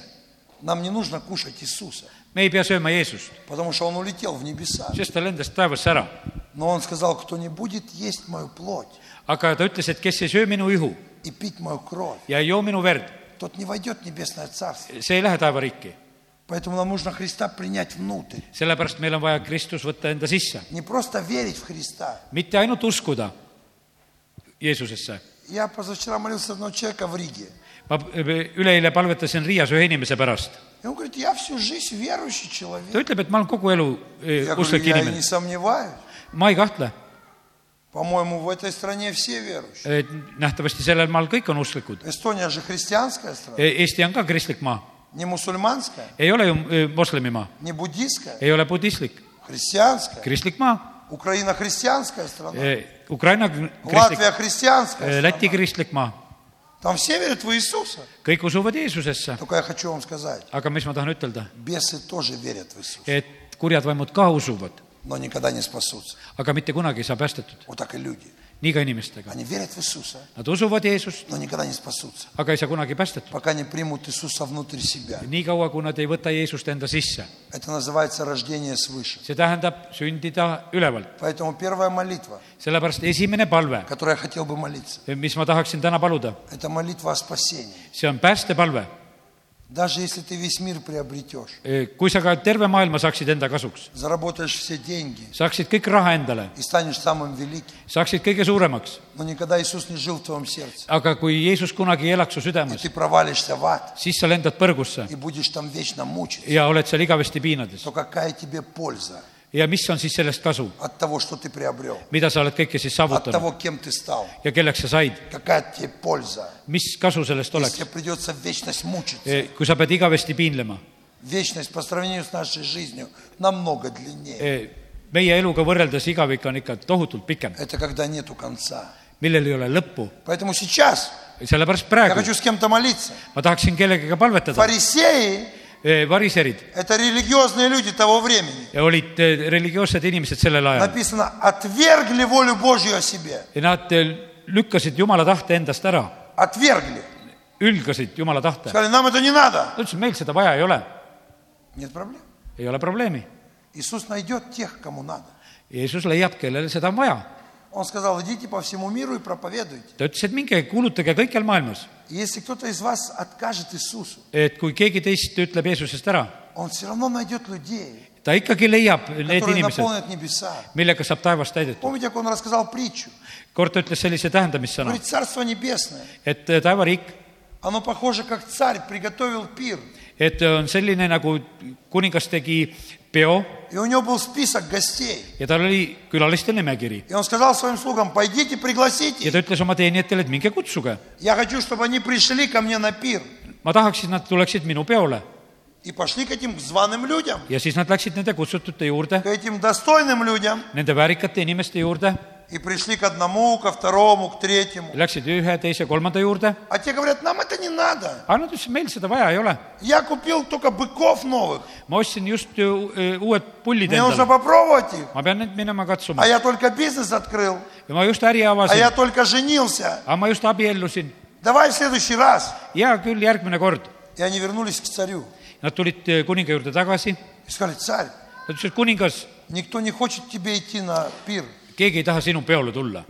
Speaker 1: Нам не нужно кушать Иисуса,
Speaker 2: me ei pea sööma Jeesust ,
Speaker 1: потому что Он улетел в небеса.
Speaker 2: sest ta lendas taevasse ära .
Speaker 1: Но Он сказал, кто не будет есть мою плоть
Speaker 2: aga ta ütles , et kes ei söö minu ihu
Speaker 1: и пить мою кровь,
Speaker 2: ja ei joo minu verd ,
Speaker 1: тот не войдет в небесное царство.
Speaker 2: see ei lähe taevariiki .
Speaker 1: Поэтому нам нужно Христа принять внуtrь.
Speaker 2: sellepärast meil on vaja Kristus võtta enda sisse ,
Speaker 1: Не просто верить в Христа.
Speaker 2: mitte ainult uskuda Jeesusesse .
Speaker 1: Я позавчера молился одного человека в Риге.
Speaker 2: ma öö, üleeile palvetasin Riias ühe inimese pärast ,
Speaker 1: И он говорит, я всю жизнь верующий человек.
Speaker 2: ta ütleb , et ma olen kogu elu öö,
Speaker 1: Я говорю,
Speaker 2: usklik
Speaker 1: я и не
Speaker 2: inimene ,
Speaker 1: сомневаюсь.
Speaker 2: ma ei kahtle
Speaker 1: По-моему, в этой стране все верующие.
Speaker 2: Et Äh, nähtavasti sellel maal kõik on usklikud .
Speaker 1: Эстония же христианская страна,
Speaker 2: Eesti on ka kristlik maa ,
Speaker 1: не мусульманская,
Speaker 2: ei ole ju öö, moslemimaa ,
Speaker 1: не буддийская,
Speaker 2: ei ole budistlik ,
Speaker 1: христианская.
Speaker 2: kristlik maa ,
Speaker 1: Украина христианская
Speaker 2: Э,
Speaker 1: страна,
Speaker 2: Ukraina kr- kristlik ,
Speaker 1: Латвия христианская
Speaker 2: Läti
Speaker 1: страна.
Speaker 2: kristlik maa ,
Speaker 1: Там все верят в Иисуса.
Speaker 2: kõik usuvad Jeesusesse ,
Speaker 1: Только я хочу вам сказать,
Speaker 2: aga mis ma tahan ütelda ,
Speaker 1: бесы тоже верят в Иисуса,
Speaker 2: et kurjad vaimud ka usuvad ,
Speaker 1: но никогда не спасутся.
Speaker 2: aga mitte kunagi ei saa päästetud ,
Speaker 1: Вот так и люди.
Speaker 2: nii ka inimestega .
Speaker 1: Они верят в Иисуса,
Speaker 2: Nad usuvad Jeesust ,
Speaker 1: но никогда не спасутся,
Speaker 2: aga ei saa kunagi päästetud ,
Speaker 1: пока не примут Иисуса внутрь себя.
Speaker 2: niikaua kui nad ei võta Jeesust enda sisse .
Speaker 1: Это называется рождение свыше.
Speaker 2: see tähendab sündida ülevalt ,
Speaker 1: Поэтому первая молитва,
Speaker 2: sellepärast esimene palve ,
Speaker 1: которой я хотел бы молиться,
Speaker 2: mis ma tahaksin täna paluda ,
Speaker 1: это молитва о спасении.
Speaker 2: see on päästepalve
Speaker 1: Даже если ты весь мир приобретешь,
Speaker 2: Eh, kui sa ka terve maailma saaksid enda kasuks ,
Speaker 1: заработаешь все деньги
Speaker 2: saaksid kõik raha endale ,
Speaker 1: и станешь самым великим,
Speaker 2: saaksid kõige suuremaks ,
Speaker 1: но никогда Иисус не жил в твоем сердце,
Speaker 2: aga kui Jeesus kunagi ei elaks su
Speaker 1: и
Speaker 2: südames
Speaker 1: ты , провалишься в ад,
Speaker 2: siis sa lendad põrgusse
Speaker 1: и будешь там вечно мучиться,
Speaker 2: ja oled seal igavesti piinades
Speaker 1: то какая тебе польза
Speaker 2: ja mis on siis sellest kasu ,
Speaker 1: от того, что ты приобрел,
Speaker 2: mida sa oled kõike siis
Speaker 1: от
Speaker 2: saavutanud
Speaker 1: того, кем ты стал?
Speaker 2: ja kelleks sa said ,
Speaker 1: Какая тебе польза,
Speaker 2: mis kasu sellest
Speaker 1: если
Speaker 2: oleks Eh,
Speaker 1: тебе , придется в вечность мучиться?
Speaker 2: kui sa pead igavesti piinlema .
Speaker 1: Вечность по сравнению с нашей жизнью намного длиннее.
Speaker 2: eh, meie eluga võrreldes igavik on ikka tohutult pikem ,
Speaker 1: Это когда нету конца.
Speaker 2: millel ei ole lõppu .
Speaker 1: Поэтому сейчас
Speaker 2: sellepärast
Speaker 1: я
Speaker 2: praegu
Speaker 1: хочу с кем-то молиться.
Speaker 2: ma tahaksin kellegagi palvetada .
Speaker 1: Фарисеи
Speaker 2: variserid
Speaker 1: – это религиозные люди того времени.
Speaker 2: olid eh, religioossed inimesed sellel ajal
Speaker 1: Написано, отвергли волю Божью о себе.
Speaker 2: ja nad eh, lükkasid jumala tahte endast ära ,
Speaker 1: Отвергли.
Speaker 2: ülgasid jumala tahte .
Speaker 1: Сказали, нам это не надо.
Speaker 2: ta ütles , meil seda vaja ei ole ,
Speaker 1: Нет проблем.
Speaker 2: ei ole probleemi .
Speaker 1: Иисус найдет тех, кому надо.
Speaker 2: Jeesus leiab , kellele seda on vaja .
Speaker 1: Он сказал, идите по всему миру и проповедуйте.
Speaker 2: ta ütles , et minge kuulutage kõikjal maailmas ,
Speaker 1: И если кто-то из вас откажет Иисусу,
Speaker 2: et kui keegi teist ütleb Jeesusest ära ,
Speaker 1: он все равно найдет людей,
Speaker 2: ta ikkagi leiab need
Speaker 1: которые
Speaker 2: inimesed ,
Speaker 1: наполнят небеса.
Speaker 2: millega saab taevas täidetud .
Speaker 1: Помните, как он рассказал притчу?
Speaker 2: kord ta ütles sellise tähendamissõna ,
Speaker 1: Говорит, царство небесное,
Speaker 2: et eh, taevariik ,
Speaker 1: оно похоже, как царь приготовил пир.
Speaker 2: et on selline , nagu kuningas tegi peo
Speaker 1: И у него был список гостей.
Speaker 2: ja tal oli külaliste nimekiri
Speaker 1: И он сказал своим слугам, пойдите,
Speaker 2: ja
Speaker 1: пригласите.
Speaker 2: ta ütles oma teenijatele , et minge kutsuge .
Speaker 1: Я хочу, чтобы они пришли ко мне на пир.
Speaker 2: ma tahaks , et nad tuleksid minu peole
Speaker 1: И пошли к этим званым людям,
Speaker 2: ja siis nad läksid nende kutsutute juurde
Speaker 1: к , этим достойным людям.
Speaker 2: nende väärikate inimeste juurde ,
Speaker 1: И пришли к одному, ко второму, к третьему.
Speaker 2: läksid ühe , teise , kolmanda juurde ,
Speaker 1: А те говорят, нам это не надо.
Speaker 2: aga nad ütlesid , meil seda vaja ei ole .
Speaker 1: Я купил только быков новых.
Speaker 2: ma ostsin just ju, öö, uued pullid
Speaker 1: Мне нужно
Speaker 2: endale ,
Speaker 1: попробовать их.
Speaker 2: ma pean nüüd minema katsuma
Speaker 1: А я только бизнес открыл.
Speaker 2: ja ma just äri
Speaker 1: А
Speaker 2: avasin
Speaker 1: я , только женился.
Speaker 2: aga ma just abiellusin .
Speaker 1: Давай в следующий раз.
Speaker 2: hea küll , järgmine kord .
Speaker 1: И они вернулись к царю.
Speaker 2: Nad tulid öö, kuninga juurde tagasi ,
Speaker 1: И сказали, царь,
Speaker 2: nad ütlesid , kuningas ,
Speaker 1: никто не хочет тебе идти на пир.
Speaker 2: keegi ei taha sinu peole tulla ,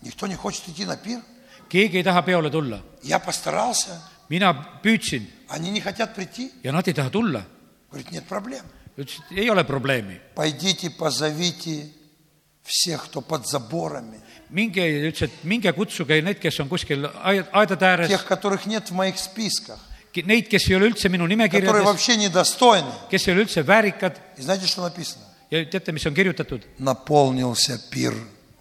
Speaker 1: Никто не хочет идти на пир.
Speaker 2: keegi ei taha peole tulla .
Speaker 1: Я постарался.
Speaker 2: mina püüdsin
Speaker 1: Они не хотят прийти.
Speaker 2: ja nad ei taha tulla .
Speaker 1: Говорит, нет проблем.
Speaker 2: ütlesid , ei ole probleemi ,
Speaker 1: Пойдите, позовите всех, кто под заборами.
Speaker 2: minge , ütles , et minge kutsuge need , kes on kuskil aia- aedade ääres ,
Speaker 1: Тех, которых нет в моих списках.
Speaker 2: neid , kes ei ole üldse minu
Speaker 1: Которые
Speaker 2: nimekirjades ,
Speaker 1: вообще недостойны.
Speaker 2: kes ei ole üldse väärikad
Speaker 1: И знаете, что написано?
Speaker 2: ja teate , mis on kirjutatud
Speaker 1: Наполнился пир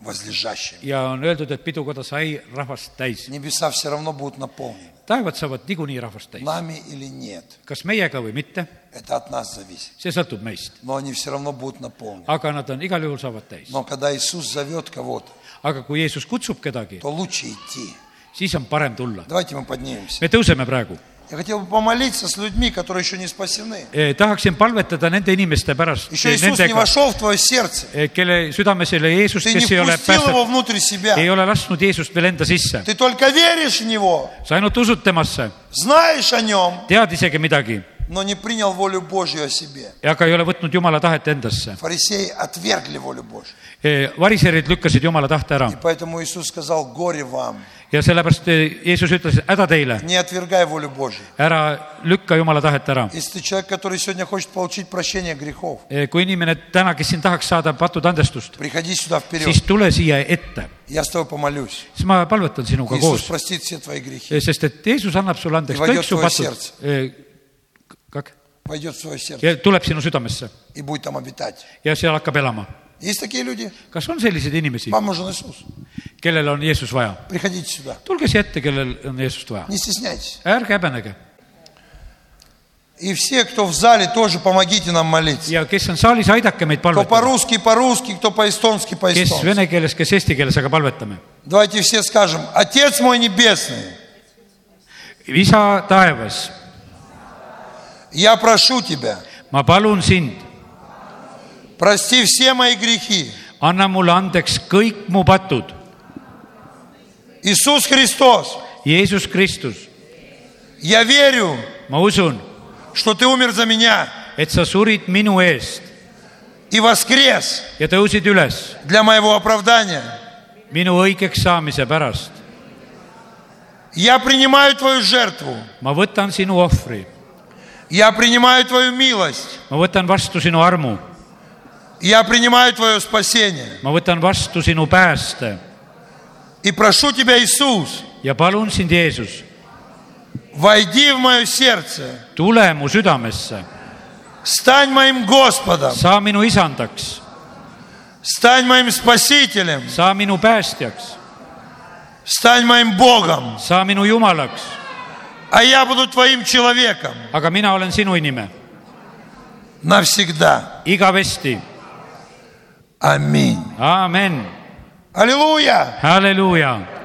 Speaker 1: возлежащим.
Speaker 2: ja on öeldud , et pidukoda sai rahvast täis .
Speaker 1: Небеса все равно будут наполнены.
Speaker 2: taevad saavad niikuinii rahvast täis ,
Speaker 1: Нами или нет.
Speaker 2: kas meiega või mitte ,
Speaker 1: Это от нас зависит.
Speaker 2: see sõltub meist ,
Speaker 1: Но они все равно будут наполнены.
Speaker 2: aga nad on igal juhul saavad täis .
Speaker 1: Но когда Иисус зовет кого-то,
Speaker 2: aga kui Jeesus kutsub kedagi ,
Speaker 1: то лучше идти.
Speaker 2: siis on parem tulla .
Speaker 1: Давайте мы поднимемся.
Speaker 2: me tõuseme praegu ,
Speaker 1: Я хотел бы помолиться с людьми, которые еще не спасены.
Speaker 2: Eh, tahaksin palvetada nende inimeste pärast ,
Speaker 1: Еще Иисус не
Speaker 2: nendega ,
Speaker 1: вошел в твое сердце.
Speaker 2: kelle südames ei ole Jeesus ,
Speaker 1: Ты не
Speaker 2: kes ei ole
Speaker 1: впустил
Speaker 2: päästetud
Speaker 1: его внутрь себя.
Speaker 2: ei ole lasknud Jeesust veel enda sisse ,
Speaker 1: Ты только веришь в него,
Speaker 2: sa ainult usud temasse ,
Speaker 1: знаешь о нем,
Speaker 2: tead isegi midagi ,
Speaker 1: но не принял волю Божью о себе.
Speaker 2: aga ei ole võtnud Jumala tahet endasse .
Speaker 1: Фарисеи отвергли волю Божью.
Speaker 2: Eh, variserid lükkasid Jumala tahte ära
Speaker 1: И поэтому Иисус сказал, горе вам,
Speaker 2: ja sellepärast eh, Jeesus ütles , häda teile ,
Speaker 1: не отвергай волю Божью.
Speaker 2: ära lükka Jumala tahet ära .
Speaker 1: Если ты человек, который сегодня хочет получить прощение грехов,
Speaker 2: kui inimene täna , kes siin tahaks saada patud andestust ,
Speaker 1: приходи сюда вперед.
Speaker 2: siis tule siia ette ,
Speaker 1: Я с тобой помолюсь.
Speaker 2: siis ma palvetan sinuga
Speaker 1: Иисус
Speaker 2: koos ,
Speaker 1: простит все твои грехи.
Speaker 2: sest et Jeesus annab sulle andeks
Speaker 1: Ja
Speaker 2: kõik su
Speaker 1: vajutavad
Speaker 2: patud Eh,
Speaker 1: serts. . Войдет в свое сердце
Speaker 2: ja tuleb sinu südamesse
Speaker 1: и будет там обитать.
Speaker 2: ja seal hakkab elama .
Speaker 1: Есть такие люди?
Speaker 2: kas on selliseid inimesi ,
Speaker 1: Вам нужен Иисус.
Speaker 2: kellel on Jeesus vaja ?
Speaker 1: Приходите сюда.
Speaker 2: tulge siia ette , kellel on Jeesust vaja ,
Speaker 1: Не стесняйтесь.
Speaker 2: ärge häbenege
Speaker 1: И все, кто в зале, тоже помогите нам молиться.
Speaker 2: ja kes on saalis , aidake meid
Speaker 1: Кто
Speaker 2: palvetada ,
Speaker 1: по-русски, по-русски, кто по-эстонски,
Speaker 2: kes
Speaker 1: по-эстонски.
Speaker 2: vene keeles , kes eesti keeles , aga palvetame .
Speaker 1: Давайте все скажем, Отец мой Небесный,
Speaker 2: isa taevas ,
Speaker 1: я прошу Тебя,
Speaker 2: ma palun sind ,
Speaker 1: прости все мои грехи.
Speaker 2: anna mulle andeks kõik mu patud .
Speaker 1: Иисус Христос,
Speaker 2: Jeesus Kristus ,
Speaker 1: я верю,
Speaker 2: ma usun ,
Speaker 1: что Ты умер за меня
Speaker 2: et sa surid minu eest
Speaker 1: и воскрес
Speaker 2: ja tõusid üles
Speaker 1: для моего оправдания.
Speaker 2: minu õigeks saamise pärast .
Speaker 1: Я принимаю Твою жертву,
Speaker 2: ma võtan sinu ohvri ,
Speaker 1: я принимаю Твою милость,
Speaker 2: ma võtan vastu sinu armu ,
Speaker 1: я принимаю Твое спасение.
Speaker 2: ma võtan vastu sinu pääste
Speaker 1: И прошу Тебя, Иисус,
Speaker 2: ja palun sind , Jeesus ,
Speaker 1: войди в мое сердце,
Speaker 2: tule mu südamesse ,
Speaker 1: стань моим Господом,
Speaker 2: saa minu isandaks
Speaker 1: стань моим Спасителем,
Speaker 2: saa minu päästjaks ,
Speaker 1: стань моим Богом,
Speaker 2: saa minu jumalaks ,
Speaker 1: а я буду Твоим человеком
Speaker 2: aga mina olen sinu inimene
Speaker 1: навсегда.
Speaker 2: igavesti ,
Speaker 1: Аминь.
Speaker 2: aamen .
Speaker 1: Аллилуйя!
Speaker 2: halleluuja